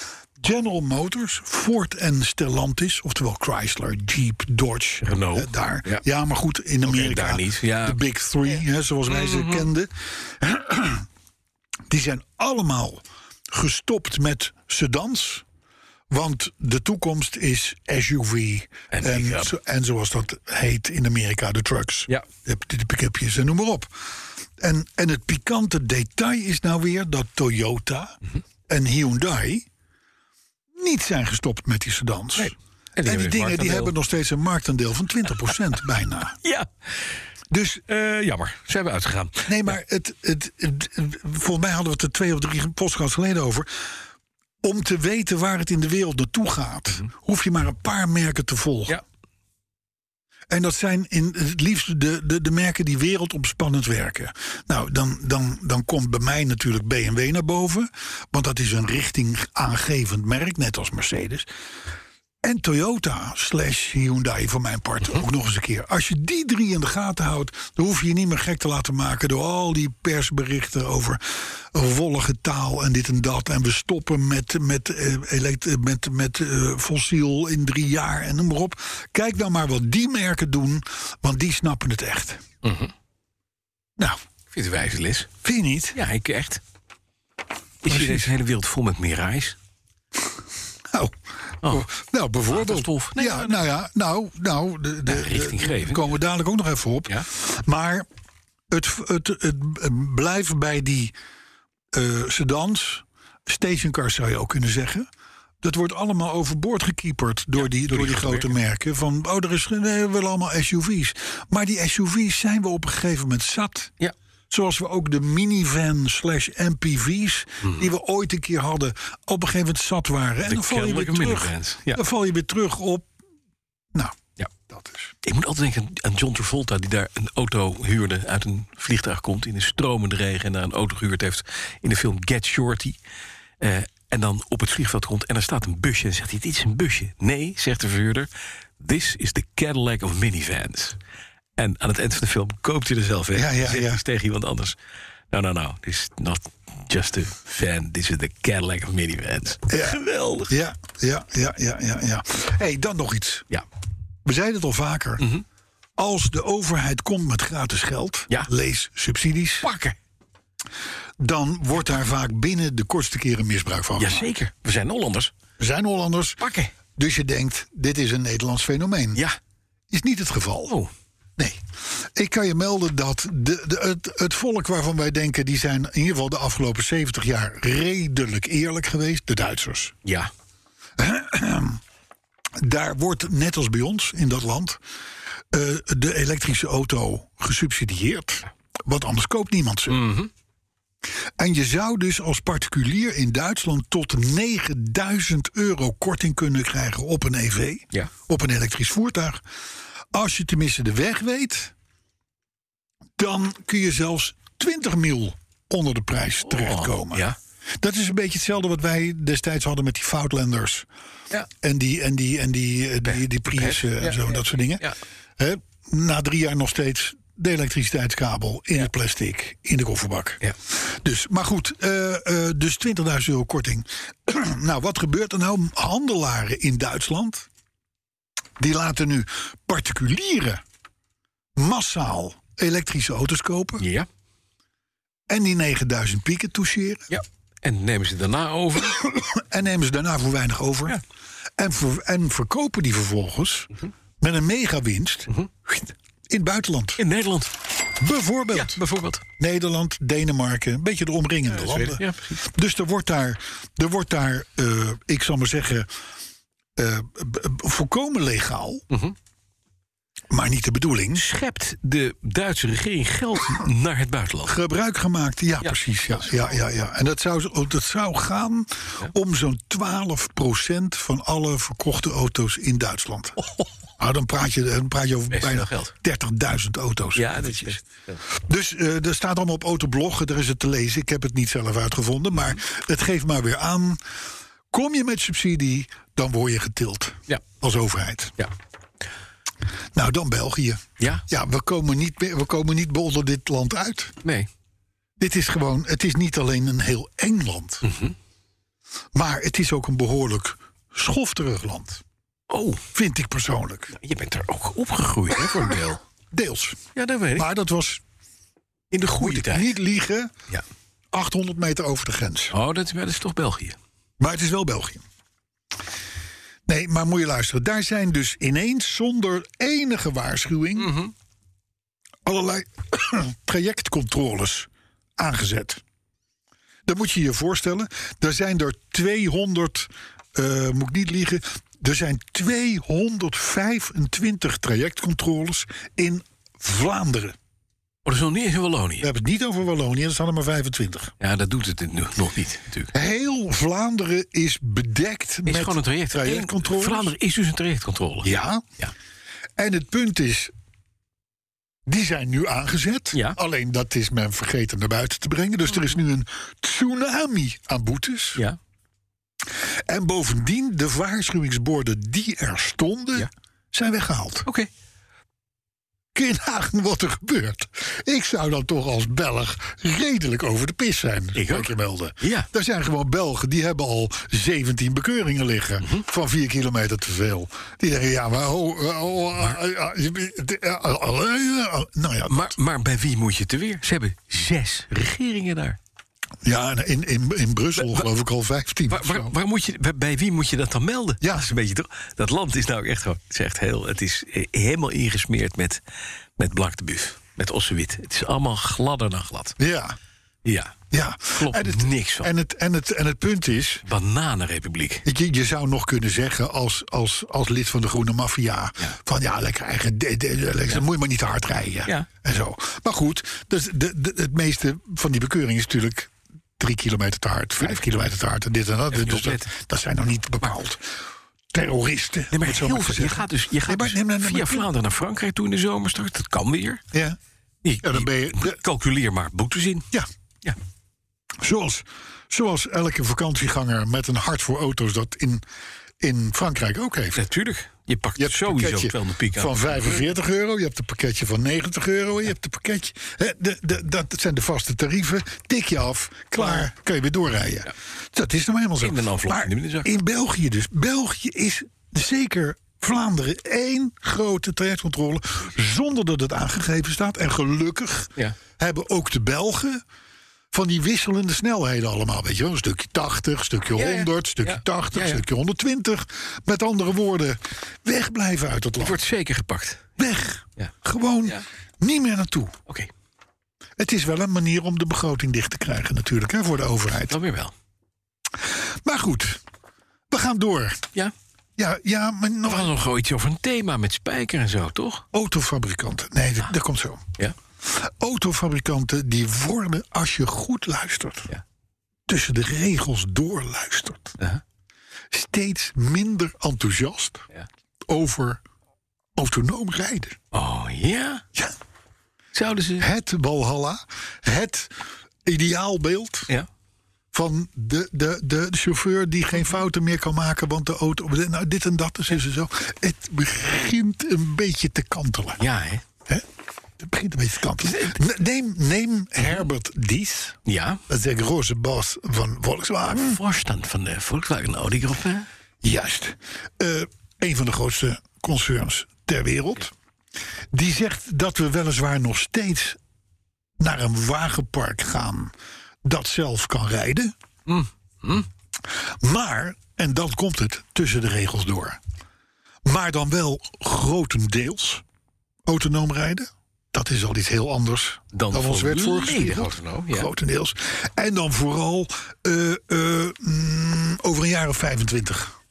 S3: General Motors, Ford en Stellantis, oftewel Chrysler, Jeep, Dodge,
S2: Renault.
S3: eh, daar.
S2: Ja.
S3: Ja. maar goed, in Amerika,
S2: daar niet, ja.
S3: de Big Three, hè, zoals wij ze kenden... [clears throat] die zijn allemaal gestopt met sedans... Want de toekomst is SUV
S2: En
S3: en,
S2: pick-up.
S3: zo- en zoals dat heet in Amerika, de trucks.
S2: Ja.
S3: De, de, de pick-upjes en noem maar op. En, en het pikante detail is nou weer dat
S2: Mhm.
S3: Toyota en Hyundai niet zijn gestopt met die sedans.
S2: hebben
S3: En die
S2: een
S3: dingen die
S2: marktaandeel.
S3: hebben nog steeds een marktaandeel van
S2: [laughs]
S3: 20% bijna.
S2: Ja,
S3: Dus
S2: eh, jammer. Ze hebben uitgegaan.
S3: nee, maar het, het, het- volgens mij hadden we het er twee of drie podcasts geleden over. Om te weten waar het in de wereld naartoe gaat, hoef je maar een paar merken te volgen.
S2: Mhm. Ja,
S3: En dat zijn in het liefst de, de, de merken die wereldomspannend werken. Nou, dan, dan, dan komt bij mij natuurlijk BMW naar boven. Want dat is een richting aangevend merk, net als Mercedes. En Toyota slash Hyundai voor mijn part ook nog eens een keer. Als je die drie in de gaten houdt, dan hoef je je niet meer gek te laten maken door al die persberichten over wollige taal en dit en dat. En we stoppen met, met, eh, elekt- eh, met, met eh, fossiel in drie jaar en noem maar op. Kijk nou maar wat die merken doen, want die snappen het echt. Nou,
S2: ik vind het wijze les.
S3: vind je niet?
S2: Ja, ik echt. Is hier deze hele wereld vol met Mirais?
S3: Nou,
S2: Oh,
S3: nou bijvoorbeeld.
S2: dat is tof. Nee, eh,
S3: ja, nou ja, nou, nou de, de,
S2: richtinggevend.
S3: de- komen we dadelijk ook nog even op.
S2: Ja.
S3: Maar het, het, het, het blijft bij die eh sedans, stationcars zou je ook kunnen zeggen. Dat wordt allemaal overboord gekieperd door, die, door, die grote merken. Van, oh, er is, geen- nee, we willen allemaal SUV's. Maar die SUV's zijn we op een gegeven moment zat.
S2: Ja.
S3: Zoals we ook de minivan slash MPV's... die we ooit een keer hadden, op een gegeven moment zat waren. En
S2: Mhm. De
S3: dan val, je weer
S2: kennelijke
S3: terug,
S2: minivans, ja.
S3: dan val je weer terug op... Nou,
S2: Ja.
S3: dat is...
S2: Ik moet altijd denken aan John Travolta, die daar een auto huurde, uit een vliegtuig komt, in een stromende regen en daar een auto gehuurd heeft in de film Get Shorty. Eh, en dan op het vliegveld komt en daar staat een busje en dan zegt hij, dit is een busje. Nee, zegt de verhuurder, this is the Cadillac of minivans. En aan het eind van de film koopt hij er zelf in.
S3: Ja, ja,
S2: Zegt
S3: ja.
S2: hij tegen iemand anders. Nou, No, no, no, this is not just a fan, this is the Cadillac of minivans.
S3: Ja.
S2: Geweldig.
S3: Ja, ja, ja, ja, ja. ja. hey, dan nog iets.
S2: Ja,
S3: We zeiden het al vaker.
S2: Mhm.
S3: Als de overheid komt met gratis geld,
S2: Ja.
S3: lees subsidies,
S2: pakken.
S3: dan wordt daar vaak binnen de kortste keren misbruik van gemaakt.
S2: Jazeker, we zijn Hollanders.
S3: We zijn Hollanders,
S2: Pakken.
S3: dus je denkt, dit is een Nederlands fenomeen.
S2: Ja.
S3: Is niet het geval.
S2: Oh,
S3: Nee. Ik kan je melden dat de, de, het, het volk waarvan wij denken... die zijn in ieder geval de afgelopen 70 jaar redelijk eerlijk geweest. De Duitsers.
S2: ja.
S3: daar wordt, net als bij ons in dat land, eh, de elektrische auto gesubsidieerd. Want anders koopt niemand ze.
S2: Mhm.
S3: En je zou dus als particulier in Duitsland tot 9000 euro korting kunnen krijgen op een EV,
S2: Ja.
S3: op een elektrisch voertuig. Als je tenminste de weg weet, dan kun je zelfs 20 mil onder de prijs terechtkomen.
S2: Oh, Ja.
S3: Dat is een beetje hetzelfde wat wij destijds hadden met die Foutlanders.
S2: Ja.
S3: En die, en die, en die, eh, die, die Prius eh, en zo, en dat soort dingen.
S2: Ja.
S3: Hè? Na drie jaar nog steeds de elektriciteitskabel in het plastic, in de kofferbak.
S2: Ja.
S3: Dus, maar goed, eh, eh, dus 20.000 euro korting. [clears throat] nou, wat gebeurt er nou? Handelaren in Duitsland, die laten nu particulieren massaal elektrische auto's kopen...
S2: Ja.
S3: en die 9000 pieken toucheren.
S2: ja. En nemen ze daarna over.
S3: En nemen ze daarna voor weinig over.
S2: Ja. Mhm.
S3: En, ver- en verkopen die vervolgens met een megawinst in het buitenland.
S2: In Nederland.
S3: Bijvoorbeeld
S2: Ja, bijvoorbeeld.
S3: Nederland, Denemarken, een beetje de omringende landen.
S2: Zweden, ja, precies.
S3: dus er wordt daar, er wordt daar eh, ik zal maar zeggen, eh, b- b- volkomen legaal.
S2: Mhm.
S3: Maar niet de bedoeling.
S2: Schept de Duitse regering geld naar het buitenland?
S3: Gebruik gemaakt, ja, precies. Ja, ja, ja, ja. En dat zou, dat zou gaan om zo'n 12% van alle verkochte auto's in Duitsland. Nou, dan praat je, dan praat je over
S2: Oh. Best
S3: bijna
S2: veel geld.
S3: 30.000 auto's.
S2: Ja, dat is.
S3: Dus eh er staat allemaal op autoblog, daar is het te lezen. Ik heb het niet zelf uitgevonden, maar het geeft maar weer aan. Kom je met subsidie, dan word je getild
S2: Ja.
S3: als overheid.
S2: Ja.
S3: Nou, dan België.
S2: Ja?
S3: Ja, we komen niet, meer- we komen niet onder dit land uit.
S2: Nee.
S3: Dit is gewoon, het is niet alleen een heel eng land.
S2: Mhm.
S3: Maar het is ook een behoorlijk schofterig land.
S2: Oh,
S3: Vind ik persoonlijk.
S2: je bent er ook opgegroeid, hè, voor een deel.
S3: Deels.
S2: Ja, dat weet ik.
S3: Maar dat was,
S2: In de
S3: moet
S2: goede
S3: ik
S2: tijd.
S3: niet liegen,
S2: Ja.
S3: 800 meter over de grens.
S2: Oh, dat, maar dat is toch België? Oh,
S3: Maar het is wel België. Nee, maar moet je luisteren. Daar zijn dus ineens zonder enige waarschuwing...
S2: Mhm.
S3: allerlei [clears throat] trajectcontroles aangezet. Dat moet je je voorstellen. Daar zijn er 200, eh, moet ik niet liegen... Er zijn 225 trajectcontroles in Vlaanderen.
S2: Oh, dat is nog niet eens in Wallonië.
S3: We hebben het niet over Wallonië, er staan er maar 25.
S2: Ja, dat doet het nu nog niet natuurlijk.
S3: Heel Vlaanderen is bedekt
S2: Het
S3: met
S2: is gewoon een traject.
S3: trajectcontroles.
S2: Eén- Vlaanderen is dus een trajectcontrole.
S3: Ja.
S2: Ja.
S3: En het punt is, die zijn nu aangezet.
S2: Ja.
S3: Alleen dat is men vergeten naar buiten te brengen. Dus er is nu een tsunami aan boetes.
S2: Ja.
S3: En bovendien, de waarschuwingsborden die er stonden,
S2: Ja.
S3: zijn weggehaald.
S2: Oké.
S3: Kun je nagaan wat er gebeurt? Ik zou dan toch als Belg redelijk over de pis zijn,
S2: Ik
S3: zou
S2: ook.
S3: je melden.
S2: Ja.
S3: Er zijn gewoon Belgen, die hebben al 17 bekeuringen liggen...
S2: Mhm.
S3: van 4 kilometer te veel. Die denken, ja, maar... Oh, oh, oh, ah, ah, eh, eh, eh, eh, eh, nou ja,
S2: Maar, maar bij wie moet je te weer? Ze hebben zes regeringen daar.
S3: ja en in, in, in Brussel geloof ik al 15
S2: Waar,
S3: of
S2: waar,
S3: zo.
S2: waar moet je, waar- bij wie moet je dat dan melden?
S3: Ja.
S2: Dat, is een beetje, toch- dat land is nou echt gewoon. Het is echt heel. Het is eh, helemaal ingesmeerd met, met Blanc de Buff. Met Ossewit. Het is allemaal gladder dan glad.
S3: Ja,
S2: Ja.
S3: ja.
S2: Klopt
S3: en het,
S2: niks van.
S3: En het, en, het, en het punt is...
S2: Bananenrepubliek.
S3: Je, je zou nog kunnen zeggen als, als, als lid van de Groene Maffia... van ja, lekker eigen... De, de- de- lekker, moet je maar niet te hard rijden.
S2: Ja.
S3: En zo. Maar goed, dus de, de- het meeste van die bekeuring is natuurlijk... drie kilometer te hard, vijf kilometer te hard en dit en dat.
S2: Even
S3: Dus dat,
S2: opletten.
S3: dat zijn nog niet bepaald terroristen.
S2: Nee,
S3: om
S2: maar
S3: het zo
S2: heel
S3: te
S2: veel. Je
S3: zeggen.
S2: gaat dus je gaat
S3: Nee, maar-
S2: dus
S3: nee, maar- nee,
S2: via
S3: maar-
S2: Vlaanderen naar Frankrijk toe in de zomer straks. Dat kan weer.
S3: Ja,
S2: Je-
S3: Ja, dan ben je-
S2: je- Calculeer maar boetes in.
S3: ja.
S2: Ja.
S3: Zoals, zoals elke vakantieganger met een hart voor auto's... dat in, in Frankrijk ook heeft.
S2: Natuurlijk. Je pakt
S3: Je hebt een
S2: sowieso
S3: pakketje
S2: wel de piek aan.
S3: van 45 euro, je hebt een pakketje van 90 euro... en je hebt een pakketje... Hè, de, de, dat zijn de vaste tarieven, tik je af, klaar, kan je weer doorrijden. Dat is nou helemaal zo.
S2: In een envelop,
S3: Maar
S2: in de middenzak.
S3: in België dus. België is zeker Vlaanderen één grote trajectcontrole... zonder dat het aangegeven staat. En gelukkig
S2: Ja.
S3: hebben ook de Belgen... Van die wisselende snelheden allemaal, weet je wel. Een stukje 80, een stukje
S2: Ja, ja.
S3: 100, een stukje
S2: Ja.
S3: 80,
S2: Ja, ja.
S3: een stukje 120. Met andere woorden, wegblijven uit het
S2: Het
S3: land.
S2: wordt zeker gepakt.
S3: Weg.
S2: Ja.
S3: Gewoon
S2: Ja.
S3: niet meer naartoe.
S2: Oké,
S3: Het is wel een manier om de begroting dicht te krijgen natuurlijk, hè, voor de overheid.
S2: dan weer wel.
S3: Maar goed, we gaan door.
S2: Ja.
S3: Ja, ja maar
S2: We
S3: nog
S2: hadden nog wel iets over een thema met spijker en zo, toch?
S3: autofabrikanten. Nee,
S2: Ah.
S3: dat, dat komt zo.
S2: Ja.
S3: Autofabrikanten die worden, als je goed luistert...
S2: Ja.
S3: tussen de regels doorluistert...
S2: Aha.
S3: steeds minder enthousiast
S2: Ja.
S3: over autonoom rijden.
S2: Oh ja?
S3: Ja.
S2: Zouden ze.
S3: Het Walhalla, het ideaalbeeld
S2: Ja.
S3: van de, de, de chauffeur die geen fouten meer kan maken, want de auto. Nou, dit en dat, dus is en zo. Het begint een beetje te kantelen.
S2: Ja, hè?
S3: Hè? Het begint een beetje te kantelen. Ne- Neem, neem Herbert Dies,
S2: Ja.
S3: dat is de grote baas van Volkswagen.
S2: Hmm. Voorstand van de Volkswagen Audi Groep, hè?
S3: Juist. Eh, een van de grootste concerns ter wereld. Die zegt dat we weliswaar nog steeds naar een wagenpark gaan dat zelf kan rijden.
S2: Mm-hmm.
S3: Maar, en dan komt het tussen de regels door. Maar dan wel grotendeels autonoom rijden. Dat is al iets heel anders
S2: Dan
S3: dan, ons werd
S2: volledig
S3: voorgeschreven.
S2: autonoom, ja.
S3: Grotendeels. En dan vooral eh, eh, mm, over een jaar of 25.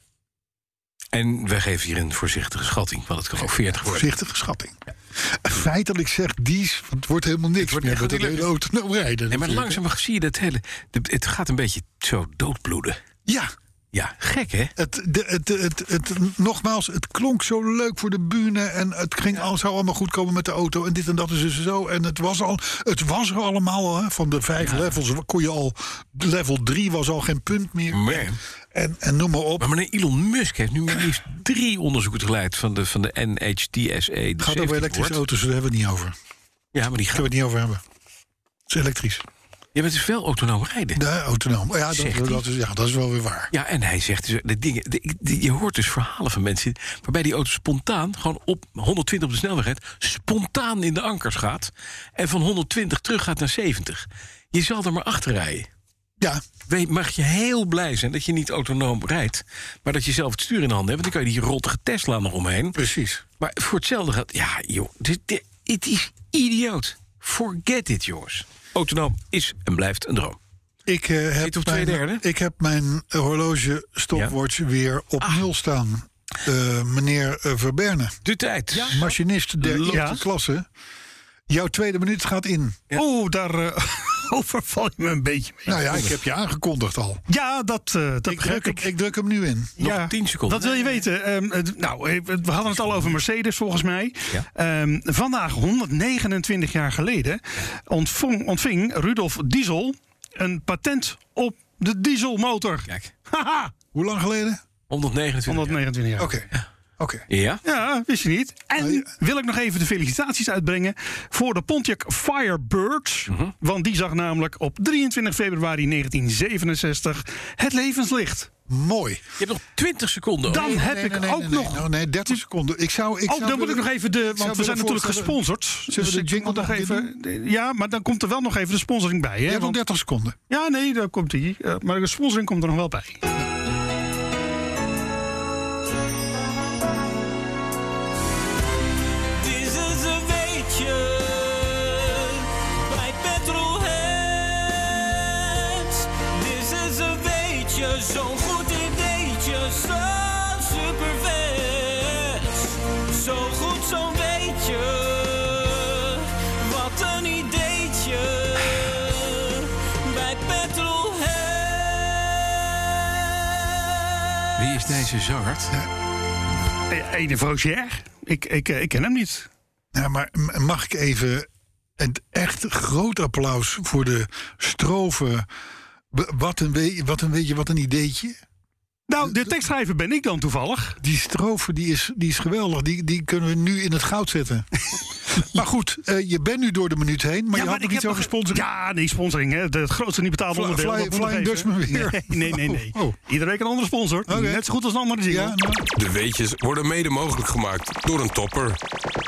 S2: En wij geven hier een voorzichtige schatting, want het kan ook 40 worden.
S3: Voorzichtige schatting. Feitelijk zegt Dies, want het wordt helemaal niks
S2: wordt
S3: meer
S2: echt
S3: met dat
S2: niet
S3: hele autonoom rijden.
S2: Nee, maar
S3: natuurlijk.
S2: langzaam zie je dat hele. de- Het gaat een beetje zo doodbloeden.
S3: Ja,
S2: Ja, gek, hè?
S3: het, de, het, het, het, nogmaals, het klonk zo leuk voor de bühne... en het ging, al, zou allemaal goed komen met de auto en dit en dat is dus zo. En het was, al, het was er allemaal, hè, van de vijf levels kon je al... level 3 was al geen punt meer.
S2: Maar,
S3: En, en noem maar op.
S2: maar meneer Elon Musk heeft nu maar liefst drie onderzoeken geleid van de, van de NHTSA. de
S3: Het gaat over
S2: safety
S3: elektrische
S2: board.
S3: auto's, daar hebben we het niet over. Daar
S2: Ja, maar die
S3: gaan
S2: gaan.
S3: we het niet over hebben. Het is elektrisch.
S2: Je bent dus wel autonoom rijden.
S3: De autonoom. Ja,
S2: Zegt
S3: dat,
S2: hij.
S3: dat is, ja, dat is wel weer waar.
S2: Ja, en hij zegt dus, de dingen, de- ik- die- je hoort dus verhalen van mensen waarbij die auto spontaan, gewoon op 120 op de snelweg rijdt, spontaan in de ankers gaat en van 120 terug gaat naar 70. Je zal er maar achter rijden.
S3: Ja,
S2: Weet, mag je heel blij zijn dat je niet autonoom rijdt, maar dat je zelf het stuur in de handen hebt, want dan kan je die rottige Tesla nog omheen.
S3: precies.
S2: Maar voor hetzelfde geld, ja joh, dit, dit- het is idioot. Forget it, jongens. Autonoom is en blijft een droom.
S3: Ik, eh, heb
S2: op twee
S3: mijn,
S2: derde?
S4: Ah.
S3: ik heb mijn horloge stopwatch weer op nul staan. eh, meneer eh, Verberne,
S2: De tijd.
S3: machinist der eerste
S4: Ja.
S3: klasse. Jouw tweede minuut gaat in.
S4: Oh, daar eh, [laughs] overval je me een beetje mee.
S3: Nou ja, ik heb je aangekondigd al.
S4: Ja, dat, eh, dat
S3: Ik druk,
S4: begrijp
S3: hem,
S4: ik.
S3: ik druk hem nu in.
S2: Nog
S4: ja,
S2: 10 seconden.
S4: Wat wil je weten? Ehm, het- nou, eh, we hadden het al over Mercedes volgens mij.
S2: Ja.
S4: Ehm, vandaag, 129 jaar geleden, ontving, ontving Rudolf Diesel een patent op de dieselmotor.
S2: Kijk,
S4: Haha,
S3: Hoe lang geleden?
S2: 129.
S4: 129 jaar.
S3: Oké. Oké.
S2: Ja?
S4: Ja, wist je niet. En wil ik nog even de felicitaties uitbrengen voor de Pontiac Firebird. Want die zag namelijk op 23 februari 1967 het levenslicht.
S3: Mooi.
S2: Je hebt nog 20 seconden.
S4: Dan
S2: over.
S4: heb
S3: Nee,
S4: ik
S3: nee, nee,
S4: ook
S3: nee,
S4: nog...
S3: Nee, nee, 30 seconden. Ik zou. Ik
S4: Oh,
S3: zou
S4: dan moet ik nog
S3: willen-
S4: even de.
S3: zou
S4: Want we zijn
S3: willen
S4: natuurlijk
S3: voorstellen-
S4: gesponsord. Dus
S3: we de
S4: ik
S3: jingle
S4: moet nog
S3: nog
S4: even. Ja, maar dan komt er wel nog even de sponsoring bij.
S3: Je
S4: Hè?
S3: hebt nog
S4: Want-
S3: 30 seconden.
S4: ja, nee, daar komt die. Eh, maar de sponsoring komt er nog wel bij.
S1: Het is een weetje bij Petrolheads. Dit is een weetje, zo'n goed ideetje, zo super Zo goed, zo'n weetje, wat een ideetje bij Petrolheads.
S2: Wie is deze zanger?
S4: Eh, Ede Vaugier? Ik, ik, eh, ik ken hem niet.
S3: Ja, maar m- mag ik even een echt groot applaus voor de strofe. B- Wat een, we- wat een beetje, wat een ideetje.
S4: Nou, de tekstschrijver ben ik dan toevallig.
S3: Die strofe die is, die is geweldig. Die, die kunnen we nu in het goud zetten. maar goed, eh, je bent nu door de minuut heen. Maar je had nog iets over sponsoring.
S4: Ja, nee, sponsoring. Hè. De- Het grootste niet betaalde
S3: Fly-
S4: onderdeel.
S3: fly-
S4: dat moet nog
S3: Flying
S4: even.
S3: Dutchman weer.
S4: Nee, nee, nee. nee.
S3: Oh, oh.
S4: Iedere week een andere sponsor. Net zo goed als een andere jingle.
S3: Ja, nou,
S5: De weetjes worden mede mogelijk gemaakt door een topper.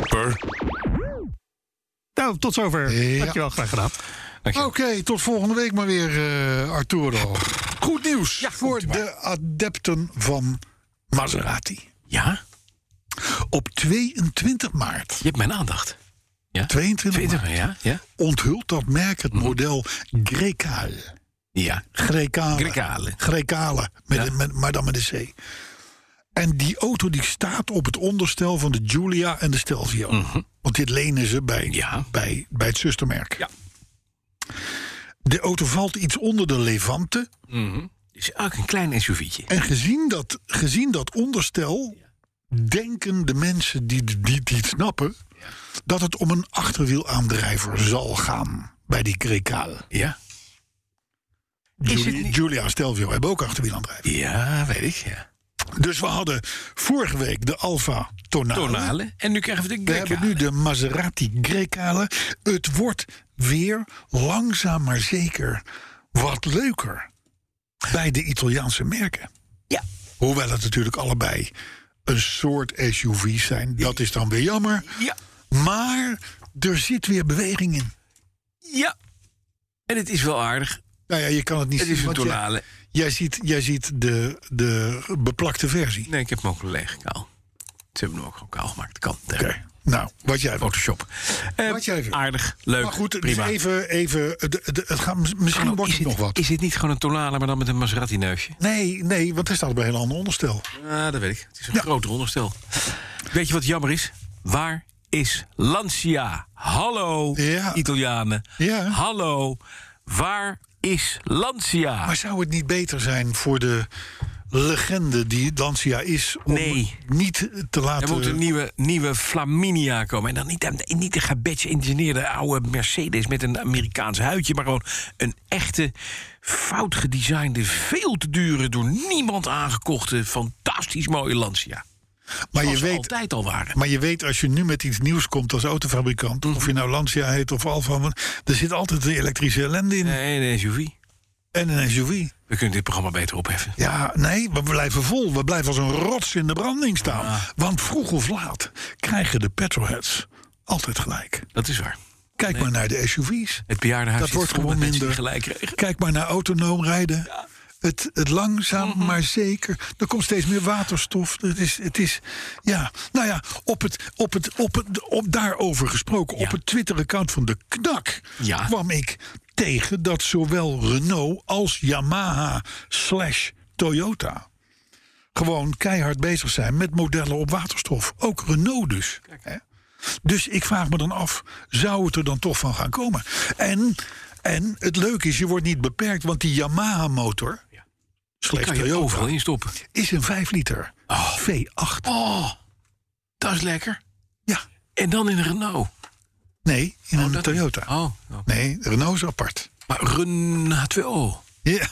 S5: Per.
S4: Nou, tot zover.
S3: Ja.
S4: Dankjewel, graag gedaan.
S3: Oké, tot volgende week maar weer, eh Arturo. Goed nieuws voor de adepten van Maserati.
S2: Ja?
S3: Op 22 maart,
S2: Je hebt mijn aandacht.
S3: 22
S2: Weet je
S3: maart
S2: wel, ja? Ja?
S3: onthult dat merk het
S2: Mhm.
S3: model Grecale.
S2: Ja.
S3: Grecale.
S2: Grecale.
S3: Grecale, met een- met, maar dan met een C. En die auto die staat op het onderstel van de Giulia en de Stelvio. Want dit lenen ze bij,
S2: Mhm. Ja.
S3: bij, bij het zustermerk.
S2: Ja.
S3: De auto valt iets onder de Levante.
S2: Mhm. Is ook een klein SUV'tje.
S3: En gezien dat, gezien dat onderstel, denken de mensen die, die, die het snappen... dat het om een achterwielaandrijver zal gaan bij die Grecale.
S2: Ja?
S3: Giulia, Giulia en Stelvio hebben ook achterwielaandrijvers.
S2: Ja, weet ik. Ja.
S3: Dus we hadden vorige week de Alfa Tonale.
S2: Tonale. En nu krijgen we de
S3: We
S2: Grecale.
S3: hebben nu de Maserati Grecale. Het wordt weer langzaam maar zeker wat leuker bij de Italiaanse merken.
S2: Ja.
S3: Hoewel het natuurlijk allebei een soort SUV's zijn. Dat is dan weer jammer.
S2: Ja.
S3: Maar er zit weer beweging in.
S2: Ja. En het is wel aardig.
S3: Nou ja, je kan het niet
S2: Het
S3: zien.
S2: is een
S3: want jij-
S2: tonale.
S3: Jij ziet, jij ziet de, de beplakte versie.
S2: Nee, ik heb hem ook leeg kaal. Ze hebben hem ook gewoon kaal gemaakt. Kan.
S3: Oké. Nou, wat jij wil.
S2: Photoshop. Eh,
S3: Wat jij wil.
S2: Aardig. Leuk.
S3: Maar goed, dus
S2: prima.
S3: even, even de, de- het gaat, misschien
S2: Hallo,
S3: wordt
S2: is,
S3: het nog wat.
S2: is dit niet gewoon een tonale, maar dan met een Maserati-neusje?
S3: Nee, nee, want hij staat bij een heel ander onderstel.
S2: Ah, dat weet ik. Het is een groter onderstel. Weet je wat jammer is? Waar is Lancia? Hallo,
S3: Ja.
S2: Italianen.
S3: Ja.
S2: Hallo, waar is Lancia?
S3: Maar zou het niet beter zijn voor de legende die Lancia is... om
S2: Nee.
S3: niet te
S2: er
S3: laten...
S2: moet een nieuwe, nieuwe Flaminia komen. En dan niet, een- niet een gebetsgeïngeneerde oude Mercedes met een Amerikaans huidje. Maar gewoon een echte, fout gedesignde, veel te dure, door niemand aangekochte, fantastisch mooie Lancia.
S3: maar, je
S2: Als ze
S3: weet,
S2: altijd al waren.
S3: maar je weet, als je nu met iets nieuws komt als autofabrikant...
S2: Mhm.
S3: of je nou Lancia heet of Alfa... er zit altijd een elektrische ellende in
S2: Nee, een SUV.
S3: en een SUV.
S2: We kunnen dit programma beter opheffen.
S3: Ja, nee, we blijven vol. We blijven als een rots in de branding staan. Want vroeg of laat krijgen de petrolheads altijd gelijk.
S2: Dat is waar.
S3: Kijk maar naar de SUV's.
S2: Het bejaardenhuis
S3: Dat
S2: zit
S3: wordt
S2: vol met
S3: gewoon
S2: mensen die
S3: minder.
S2: gelijk kregen.
S3: Kijk maar naar autonoom rijden. Het, het langzaam,
S2: Mhm.
S3: maar zeker. Er komt steeds meer waterstof. Het is, het is ja, nou ja, op het, op het, op het, op, daarover gesproken. Op het Twitter-account van de KNAK
S2: Ja.
S3: kwam ik tegen dat zowel Renault als Yamaha slash Toyota gewoon keihard bezig zijn met modellen op waterstof. Ook Renault dus. Hè? Dus ik vraag me dan af, zou het er dan toch van gaan komen? En, en het leuke is, je wordt niet beperkt, want die Yamaha-motor, slechts
S2: Kan je overal
S3: Toyota,
S2: in stoppen.
S3: is een 5 liter V8.
S2: Oh, dat is lekker.
S3: Ja,
S2: En dan in een Renault.
S3: nee, in een
S2: dat-
S3: Toyota.
S2: Oh, oh.
S3: Nee, Renault is apart.
S2: maar Renault H2O.
S3: Ja, [laughs]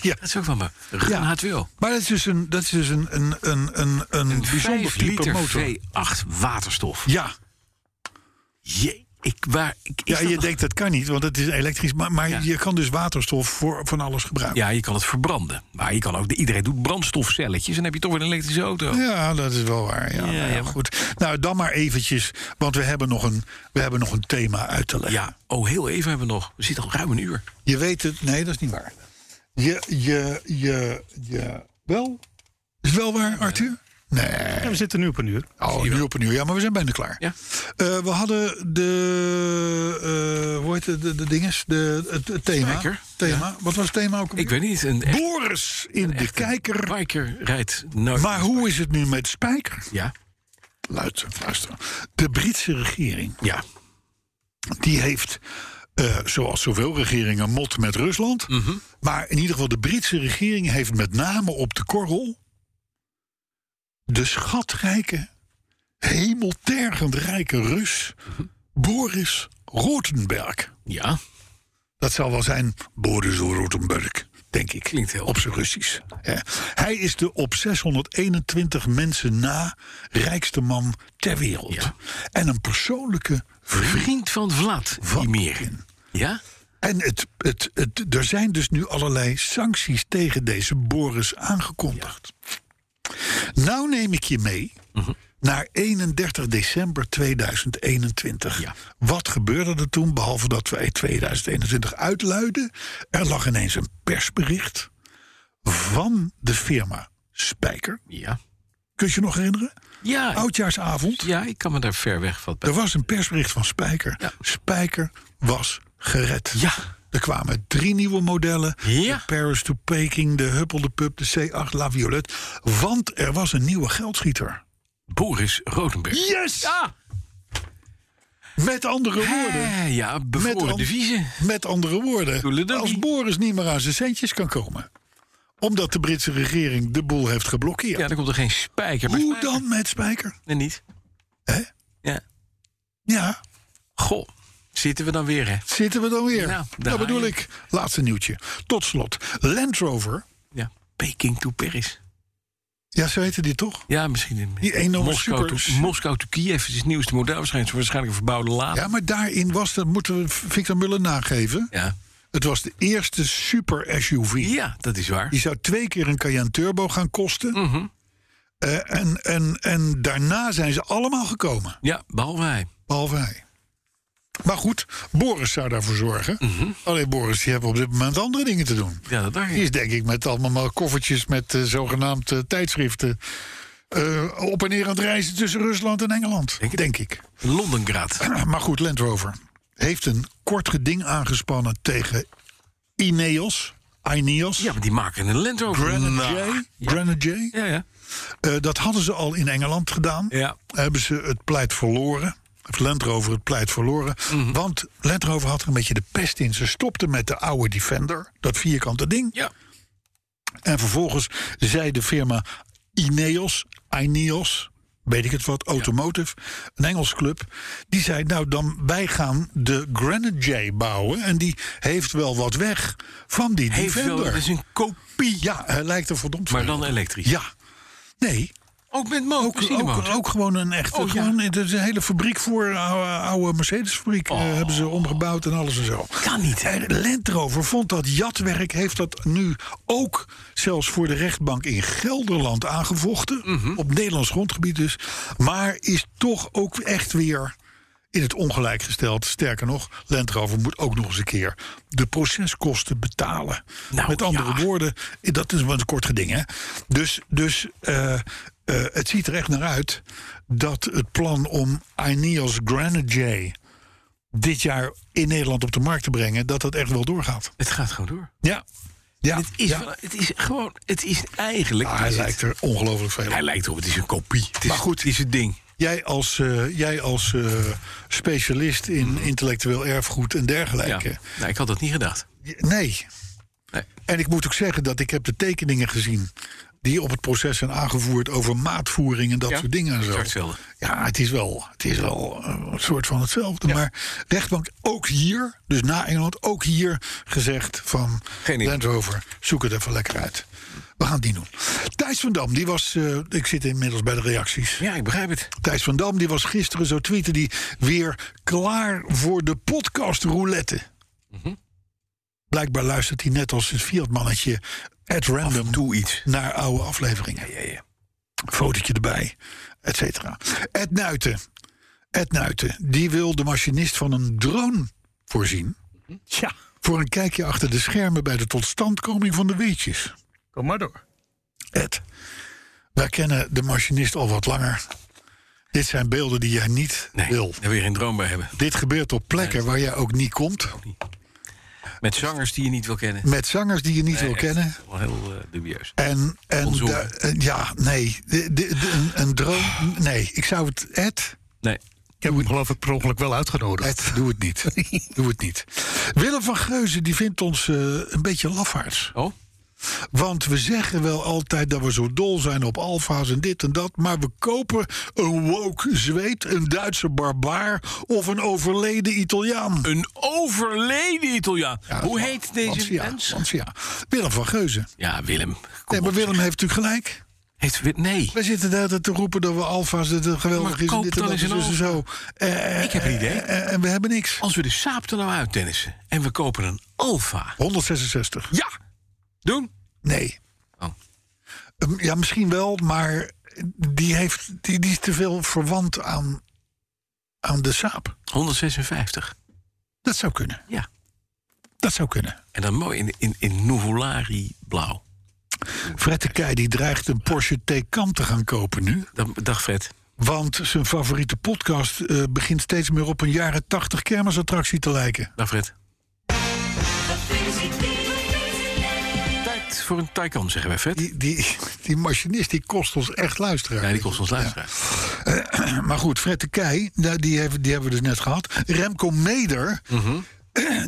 S3: ja.
S2: Dat is ook van me. Renault H2O.
S3: Maar dat is dus een, dat is dus een, een, een, een, een, bijzonder
S2: 5
S3: type
S2: liter
S3: motor.
S2: V8 waterstof.
S3: Ja,
S2: Je, ik, waar, ik, is
S3: ja
S2: dat
S3: je
S2: nog-
S3: denkt dat kan niet, want het is elektrisch. Maar, maar
S2: Ja.
S3: je kan dus waterstof voor van alles gebruiken.
S2: Ja, je kan het verbranden. Maar je kan ook, iedereen doet brandstofcelletjes en dan heb je toch weer een elektrische auto.
S3: Ja, dat is wel waar. Ja,
S2: Ja,
S3: nou ja,
S2: ja.
S3: goed. Nou, dan maar eventjes, want we hebben nog een, we hebben nog een thema uit te leggen.
S2: Ja, oh, heel even hebben we nog. We zitten al ruim een uur.
S3: Je weet het, nee, dat is niet waar. Je, je, je, je, wel? Is het wel waar, Arthur? Nee.
S4: Ja, we zitten nu op een uur.
S3: Oh, nu op een uur. Ja, maar we zijn bijna klaar.
S2: Ja.
S3: Eh, we hadden de, eh hoe heet het, de, de dinges, de, het, het thema.
S2: Spijker,
S3: thema. Wat was het thema ook? alweer?
S2: Ik weet niet, een echt
S3: Boris in de kijker.
S2: biker rijdt nooit.
S3: Maar hoe is het nu met Spijker?
S2: Ja,
S3: Luister, luister. De Britse regering,
S2: ja.
S3: die heeft, eh, zoals zoveel regeringen, mot met Rusland.
S2: Mhm.
S3: Maar in ieder geval, de Britse regering heeft met name op de korrel... de schatrijke, hemeltergend rijke Rus... Boris Rotenberg.
S2: Ja,
S3: Dat zal wel zijn Boris Rotenberg, denk ik.
S2: Klinkt heel-
S3: Op zijn Russisch. hè. Hij is de op 621 mensen na rijkste man ter wereld.
S2: Ja.
S3: En een persoonlijke vriend
S2: vriend van Vlad
S3: van
S2: meer.
S3: Poetin.
S2: Ja?
S3: En het, het, het, er zijn dus nu allerlei sancties tegen deze Boris aangekondigd. Nou neem ik je mee
S2: Mhm.
S3: naar 31 december 2021.
S2: Ja.
S3: Wat gebeurde er toen, behalve dat we 2021 uitluiden? Er lag ineens een persbericht van de firma Spijker.
S2: Ja.
S3: Kun je je nog herinneren?
S2: Ah, Ja,
S3: Oudjaarsavond.
S2: ja, ik kan me daar ver weg van.
S3: Er was een persbericht van Spijker.
S2: Ja.
S3: Spijker was gered.
S2: Ja.
S3: Er kwamen drie nieuwe modellen.
S2: Ja.
S3: De Paris to Peking, de Huppel de Pup, de C8 La Violette. Want er was een nieuwe geldschieter.
S2: Boris Rodenberg.
S3: Yes!
S2: Ja!
S3: Met andere woorden...
S2: Eh, ja,
S3: Met,
S2: bevroren
S3: an-
S2: de viezen.
S3: met andere woorden,
S2: Toedeledokie.
S3: als Boris niet meer aan zijn centjes kan komen... omdat de Britse regering de boel heeft geblokkeerd...
S2: Ja, dan komt er geen spijker. maar
S3: hoe
S2: spijker-
S3: dan met Spijker?
S2: Nee, niet.
S3: Hè?
S2: Ja.
S3: Ja,
S2: Goh, zitten we dan weer, hè?
S3: zitten we dan weer.
S2: Nou, daar
S3: dat bedoel
S2: haal je.
S3: ik. Laatste nieuwtje. Tot slot, Land Rover...
S2: Ja, Peking to Paris.
S3: Ja, zo heette die toch?
S2: Ja, misschien.
S3: Die enorme
S2: Moskou
S3: super-
S2: to, Moskou to Kiev is het nieuwste model. Waarschijnlijk, waarschijnlijk een verbouwde laad.
S3: Ja, maar daarin was, dat moeten we Victor Muller nageven.
S2: Ja.
S3: Het was de eerste super SUV.
S2: Ja, dat is waar.
S3: Die zou twee keer een Cayenne Turbo gaan kosten.
S2: Mhm.
S3: Eh, en, en, en daarna zijn ze allemaal gekomen.
S2: Ja, behalve hij.
S3: Behalve hij. Maar goed, Boris zou daarvoor zorgen.
S2: Mhm.
S3: Alleen Boris, die hebben op dit moment andere dingen te doen.
S2: Ja, dat dacht
S3: Die
S2: ik.
S3: is denk ik met allemaal koffertjes met eh, zogenaamd eh, tijdschriften... eh, op en neer aan het reizen tussen Rusland en Engeland.
S2: Denk het.
S3: denk ik. [clears throat]
S2: Londengraad.
S3: Maar goed, Land Rover heeft een kort geding aangespannen tegen Ineos. Ineos.
S2: Ja, maar die maken een Land Rover.
S3: Grenadier. Grenadier.
S2: Ja, ja.
S3: Eh, dat hadden ze al in Engeland gedaan.
S2: Ja.
S3: Hebben ze het pleit verloren. Of Land Rover het pleit verloren.
S2: Mhm.
S3: Want Land Rover had er een beetje de pest in. Ze stopten met de oude Defender. Dat vierkante ding.
S2: Ja.
S3: En vervolgens zei de firma Ineos, Ineos, weet ik het wat, Automotive, een Engels club, die zei: Nou, dan wij gaan de Grenadier bouwen. En die heeft wel wat weg van die
S2: Heeft wel,
S3: Defender.
S2: dat is een kopie.
S3: Ja, hij lijkt er verdomd
S2: Maar
S3: veel
S2: dan
S3: op.
S2: elektrisch.
S3: Ja. Nee,
S2: Ook met mo
S3: ook, ook, ook gewoon een echte.
S2: Oh, ja.
S3: gewoon, Het is een hele fabriek voor oude, oude Mercedes-fabriek. eh, hebben ze omgebouwd en alles en zo.
S2: Oh. Kan niet.
S3: En Land Rover vond dat jatwerk, heeft dat nu ook zelfs voor de rechtbank in Gelderland aangevochten.
S2: Mhm.
S3: Op Nederlands grondgebied dus. Maar is toch ook echt weer in het ongelijk gesteld. Sterker nog, Land Rover moet ook nog eens een keer de proceskosten betalen.
S2: Nou,
S3: Met andere
S2: ja.
S3: woorden, dat is wel een kort geding. Hè? Dus, dus eh, eh, het ziet er echt naar uit dat het plan om Ineos Grenadier dit jaar in Nederland op de markt te brengen, dat dat echt wel doorgaat.
S2: Het gaat gewoon door.
S3: Ja. Ja,
S2: Het is,
S3: ja.
S2: wel- het is gewoon, het is eigenlijk...
S3: Ah, hij
S2: is het-
S3: lijkt er ongelooflijk veel op.
S2: hij lijkt op, het is een kopie. Het is,
S3: Maar goed.
S2: het is het ding.
S3: Jij als, eh, jij als eh, specialist in intellectueel erfgoed en
S2: Mm-hmm. Ja.
S3: dergelijke.
S2: Nou, ik had dat niet gedacht.
S3: Nee.
S2: Nee.
S3: En ik moet ook zeggen dat ik heb de tekeningen gezien... die op het proces zijn aangevoerd over maatvoering en dat
S2: Ja,
S3: soort dingen. En
S2: exact
S3: zo.
S2: hetzelfde.
S3: Ja, het is wel, het is wel eh, een soort van hetzelfde. Maar rechtbank ook hier, dus na Engeland, ook hier gezegd van...
S2: Geen idee.
S3: Land Rover, zoek het even lekker uit. We gaan die doen. Thijs van Dam, die was... eh, ik zit inmiddels bij de reacties.
S2: Ja, ik begrijp het.
S3: Thijs van Dam, die was gisteren, zo tweette die... weer klaar voor de podcast roulette.
S2: Mhm.
S3: Blijkbaar luistert hij net als het Fiat-mannetje... at random
S2: Doe iets.
S3: naar oude afleveringen.
S2: Ja, ja.
S3: Fotootje erbij, et cetera. Ed Nuiten, Ed Nuiten, die wil de machinist van een drone voorzien...
S4: Tja,
S3: voor een kijkje achter de schermen bij de totstandkoming van de weetjes.
S4: kom maar door.
S3: Ed, wij kennen de machinist al wat langer... Dit zijn beelden die jij niet
S2: Nee,
S3: wil.
S2: daar wil je geen droom bij hebben.
S3: Dit gebeurt op plekken waar jij ook niet komt.
S2: Met zangers die je niet wil kennen.
S3: Met zangers die je niet wil
S2: echt.
S3: kennen.
S2: Wel heel eh, dubieus.
S3: En, en
S2: Onzoen.
S3: da- en ja, nee. De- de- de- een, een
S2: Oh.
S3: droom. Nee, ik zou het. Ed,
S2: Nee.
S4: Ik heb hem geloof ik per ongeluk wel uitgenodigd.
S3: Ed doe het
S2: [laughs]
S3: niet. doe het niet. Willem van Geuzen die vindt ons eh, een beetje lafaards.
S2: Oh?
S3: Want we zeggen wel altijd dat we zo dol zijn op alfa's en dit en dat. Maar we kopen een woke zweet, een Duitse barbaar of een overleden Italiaan.
S2: Een overleden Italiaan.
S3: Ja,
S2: Hoe heet deze
S3: Lancia,
S2: mens?
S3: Lancia. Willem van Geuzen.
S2: Ja, Willem. Kom
S3: Nee, maar
S2: op.
S3: Willem heeft natuurlijk gelijk.
S2: Heet Wi- Nee.
S3: Wij zitten de hele tijd te roepen dat we alfa's, dat het geweldig
S2: Maar
S3: is en
S2: koop
S3: dit en
S2: dan
S3: dat en
S2: eens een
S3: zus en zo. Eh,
S2: Ik heb een idee.
S3: eh, eh, en we hebben niks.
S2: Als we de saap er nou uit tennissen en we kopen een Alfa.
S3: 166.
S2: Ja. Doen?
S3: Nee.
S2: Oh.
S3: Ehm, Ja, misschien wel, maar die, heeft, die, die is te veel verwant aan, aan de saap.
S2: 156.
S3: Dat zou kunnen.
S2: Ja.
S3: Dat zou kunnen.
S2: En dan mooi in, in, in Nuvolari blauw.
S3: Fred de Keij die dreigt een Porsche Taycan te gaan kopen nu.
S2: Dan, dag Fred.
S3: Want zijn favoriete podcast eh, begint steeds meer op een jaren 80 kermisattractie te lijken.
S2: Dag Fred. Tijd voor een Taycan, zeggen wij Fred.
S3: Die, die, die machinist die kost ons echt luisteraar.
S2: Ja, die kost ons luisteraar.
S3: Maar goed, Fred de Keij, nou, die, hebben- die hebben we dus net gehad. Remco Meder,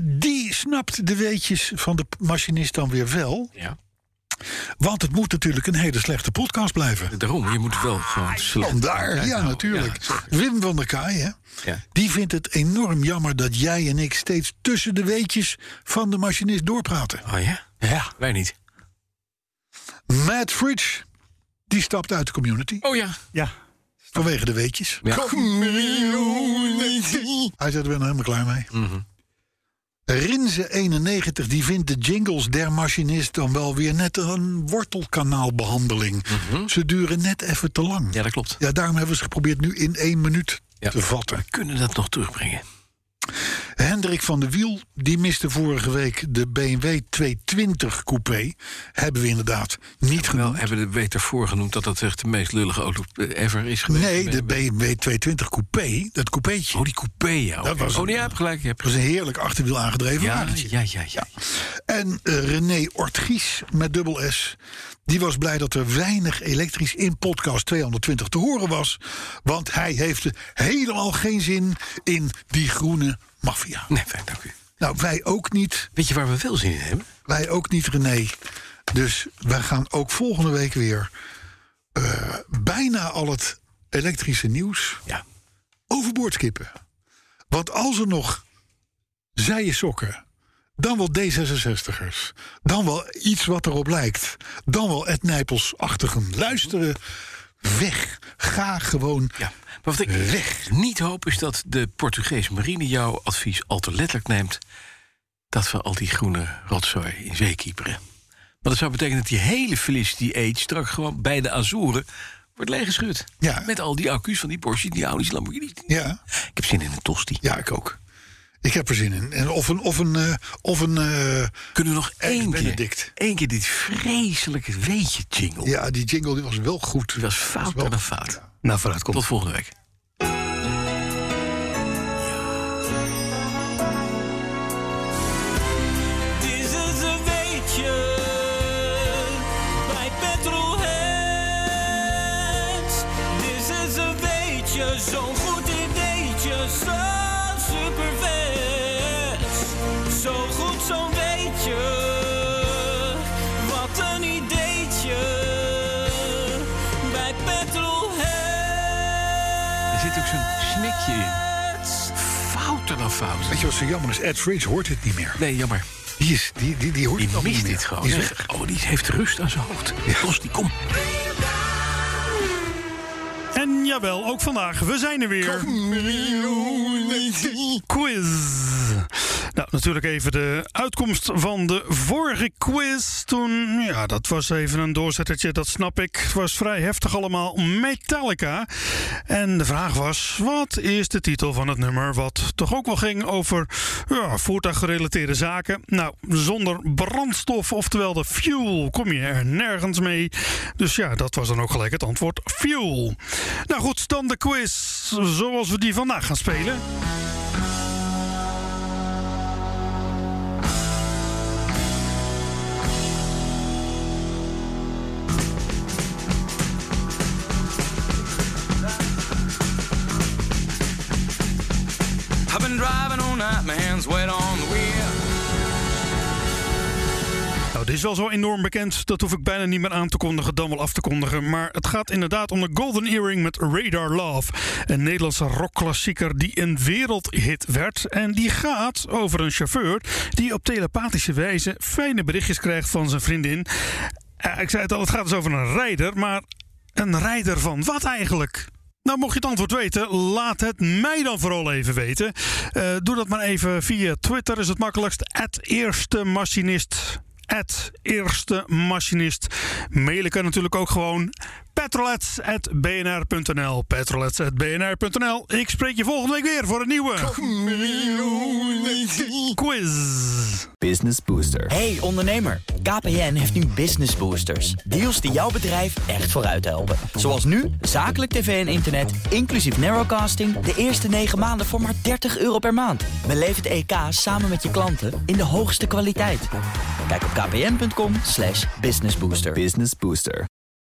S3: die snapt de weetjes van de machinist dan weer wel.
S2: Ja.
S3: Want het moet natuurlijk een hele slechte podcast blijven.
S2: Daarom, je moet wel gewoon slecht.
S3: Vandaar, ja, natuurlijk. Wim van der Kaai, hè?
S2: Ja.
S3: Die vindt het enorm jammer dat jij en ik steeds tussen de weetjes van de machinist doorpraten.
S2: Oh ja?
S3: Ja.
S2: Wij niet.
S3: Matt Fridge, die stapt uit de community
S2: Oh ja.
S4: Ja,
S3: vanwege de weetjes.
S2: Ja.
S3: Hij zei, daar ben ik helemaal klaar mee.
S2: Mhm.
S3: Rinze91 die vindt de jingles der machinist dan wel weer net een wortelkanaalbehandeling. Ze duren net even te lang.
S2: Mhm. Ja, dat klopt.
S3: Ja, daarom hebben we ze geprobeerd nu in één minuut
S2: Ja.
S3: te vatten.
S2: Kunnen dat nog terugbrengen?
S3: Hendrik van de Wiel, die miste vorige week de BMW 220 coupé. Hebben we inderdaad niet
S2: Wel
S3: genoemd.
S2: hebben we beter voorgenoemd dat dat echt de meest lullige auto eh, ever is geweest.
S3: Nee, de BMW 220 coupé, dat coupeetje.
S2: Oh, die coupé, ja. oké.
S3: Dat was-
S2: oh, nee, je hebt gelijk. Je hebt
S3: Dat
S2: gelijk.
S3: was een heerlijk achterwiel aangedreven
S2: Ja,
S3: wagentje.
S2: ja, ja, ja.
S3: En eh, René Ortgies met dubbel S. Die was blij dat er weinig elektrisch in podcast 220 te horen was. Want hij heeft helemaal geen zin in die groene maffia.
S2: Nee, fijn, dank u.
S3: Nou, wij ook niet.
S2: Weet je waar we wel zin in hebben?
S3: Wij ook niet, René. Dus wij gaan ook volgende week weer eh, bijna al het elektrische nieuws
S2: Ja.
S3: overboord kippen. Want als er nog zijen sokken, dan wel D66'ers, dan wel iets wat erop lijkt, dan wel Ed Nijpels-achtigen luisteren, weg. Ga gewoon.
S2: ja. Maar wat ik
S3: Weg.
S2: niet hoop is dat de Portugese marine jouw advies al te letterlijk neemt... dat we al die groene rotzooi in zee kieperen. Want dat zou betekenen dat die hele Felicity Age straks gewoon bij de Azoren wordt leeggeschud.
S3: Ja.
S2: Met al die accu's van die Porsche, die Audi's, Lamborghini.
S3: Ja,
S2: Ik heb zin in een tosti.
S3: ja, ik ook. Ik heb er zin in. En of een. Of een, eh, of een eh,
S2: Kunnen we nog één
S3: Benedict.
S2: keer, één keer dit vreselijke weetje jingle?
S3: ja, die jingle die was wel goed.
S2: Die was fout
S3: wel-
S2: dan fout.
S4: nou vooruit, kom.
S2: Tot volgende week.
S1: Dit is een weetje
S6: Zo'n goed ideetje, zo super Zo goed, zo'n beetje. Wat een ideetje. Bij Petrolhead.
S2: Er zit ook zo'n snikje in. Fouter dan fout.
S3: Weet je wat zo jammer is? Ed Fridge hoort het niet meer.
S2: Nee, jammer.
S3: Die, is, die, die, die hoort
S2: Die
S3: het allemaal
S2: mist
S3: niet
S2: dit
S3: meer.
S2: gewoon.
S3: Die is weg.
S2: oh, die heeft rust aan zijn hoofd. Los, die kom.
S4: En jawel, ook vandaag. We zijn er weer. Quiz. Nou, natuurlijk even de uitkomst van de vorige quiz. Toen, ja, dat was even een doorzettertje, dat snap ik. Het was vrij heftig allemaal. Metallica. En de vraag was, wat is de titel van het nummer... wat toch ook wel ging over ja, voertuiggerelateerde zaken? Nou, zonder brandstof, oftewel de fuel, kom je er nergens mee. Dus ja, dat was dan ook gelijk het antwoord fuel. Nou goed, dan de quiz zoals we die vandaag gaan spelen.
S6: I've been driving all night, my hands wet on the wheel.
S4: Nou, dit is wel zo enorm bekend. Dat hoef ik bijna niet meer aan te kondigen, dan wel af te kondigen. Maar het gaat inderdaad om de Golden Earring met Radar Love. Een Nederlandse rockklassieker die een wereldhit werd. En die gaat over een chauffeur die op telepathische wijze fijne berichtjes krijgt van zijn vriendin. Eh, ik zei het al, het gaat dus over een rijder. Maar een rijder van wat eigenlijk? Nou, mocht je het antwoord weten, laat het mij dan vooral even weten. Eh, doe dat maar even via Twitter, is het makkelijkst. eerste machinist. eerste machinist. Mailen kan natuurlijk ook gewoon. petrolets.bnr.nl. Petrolets.bnr.nl. Ik spreek je volgende week weer voor een nieuwe. Quiz.
S7: Business Booster. Hey ondernemer, KPN heeft nu Business Boosters. Deals die jouw bedrijf echt vooruit helpen. Zoals nu, zakelijk tv en internet, inclusief narrowcasting... de eerste 9 maanden voor maar 30 euro per maand. Beleef het EK samen met je klanten in de hoogste kwaliteit. Kijk op kpn.com slash businessbooster. Business Booster.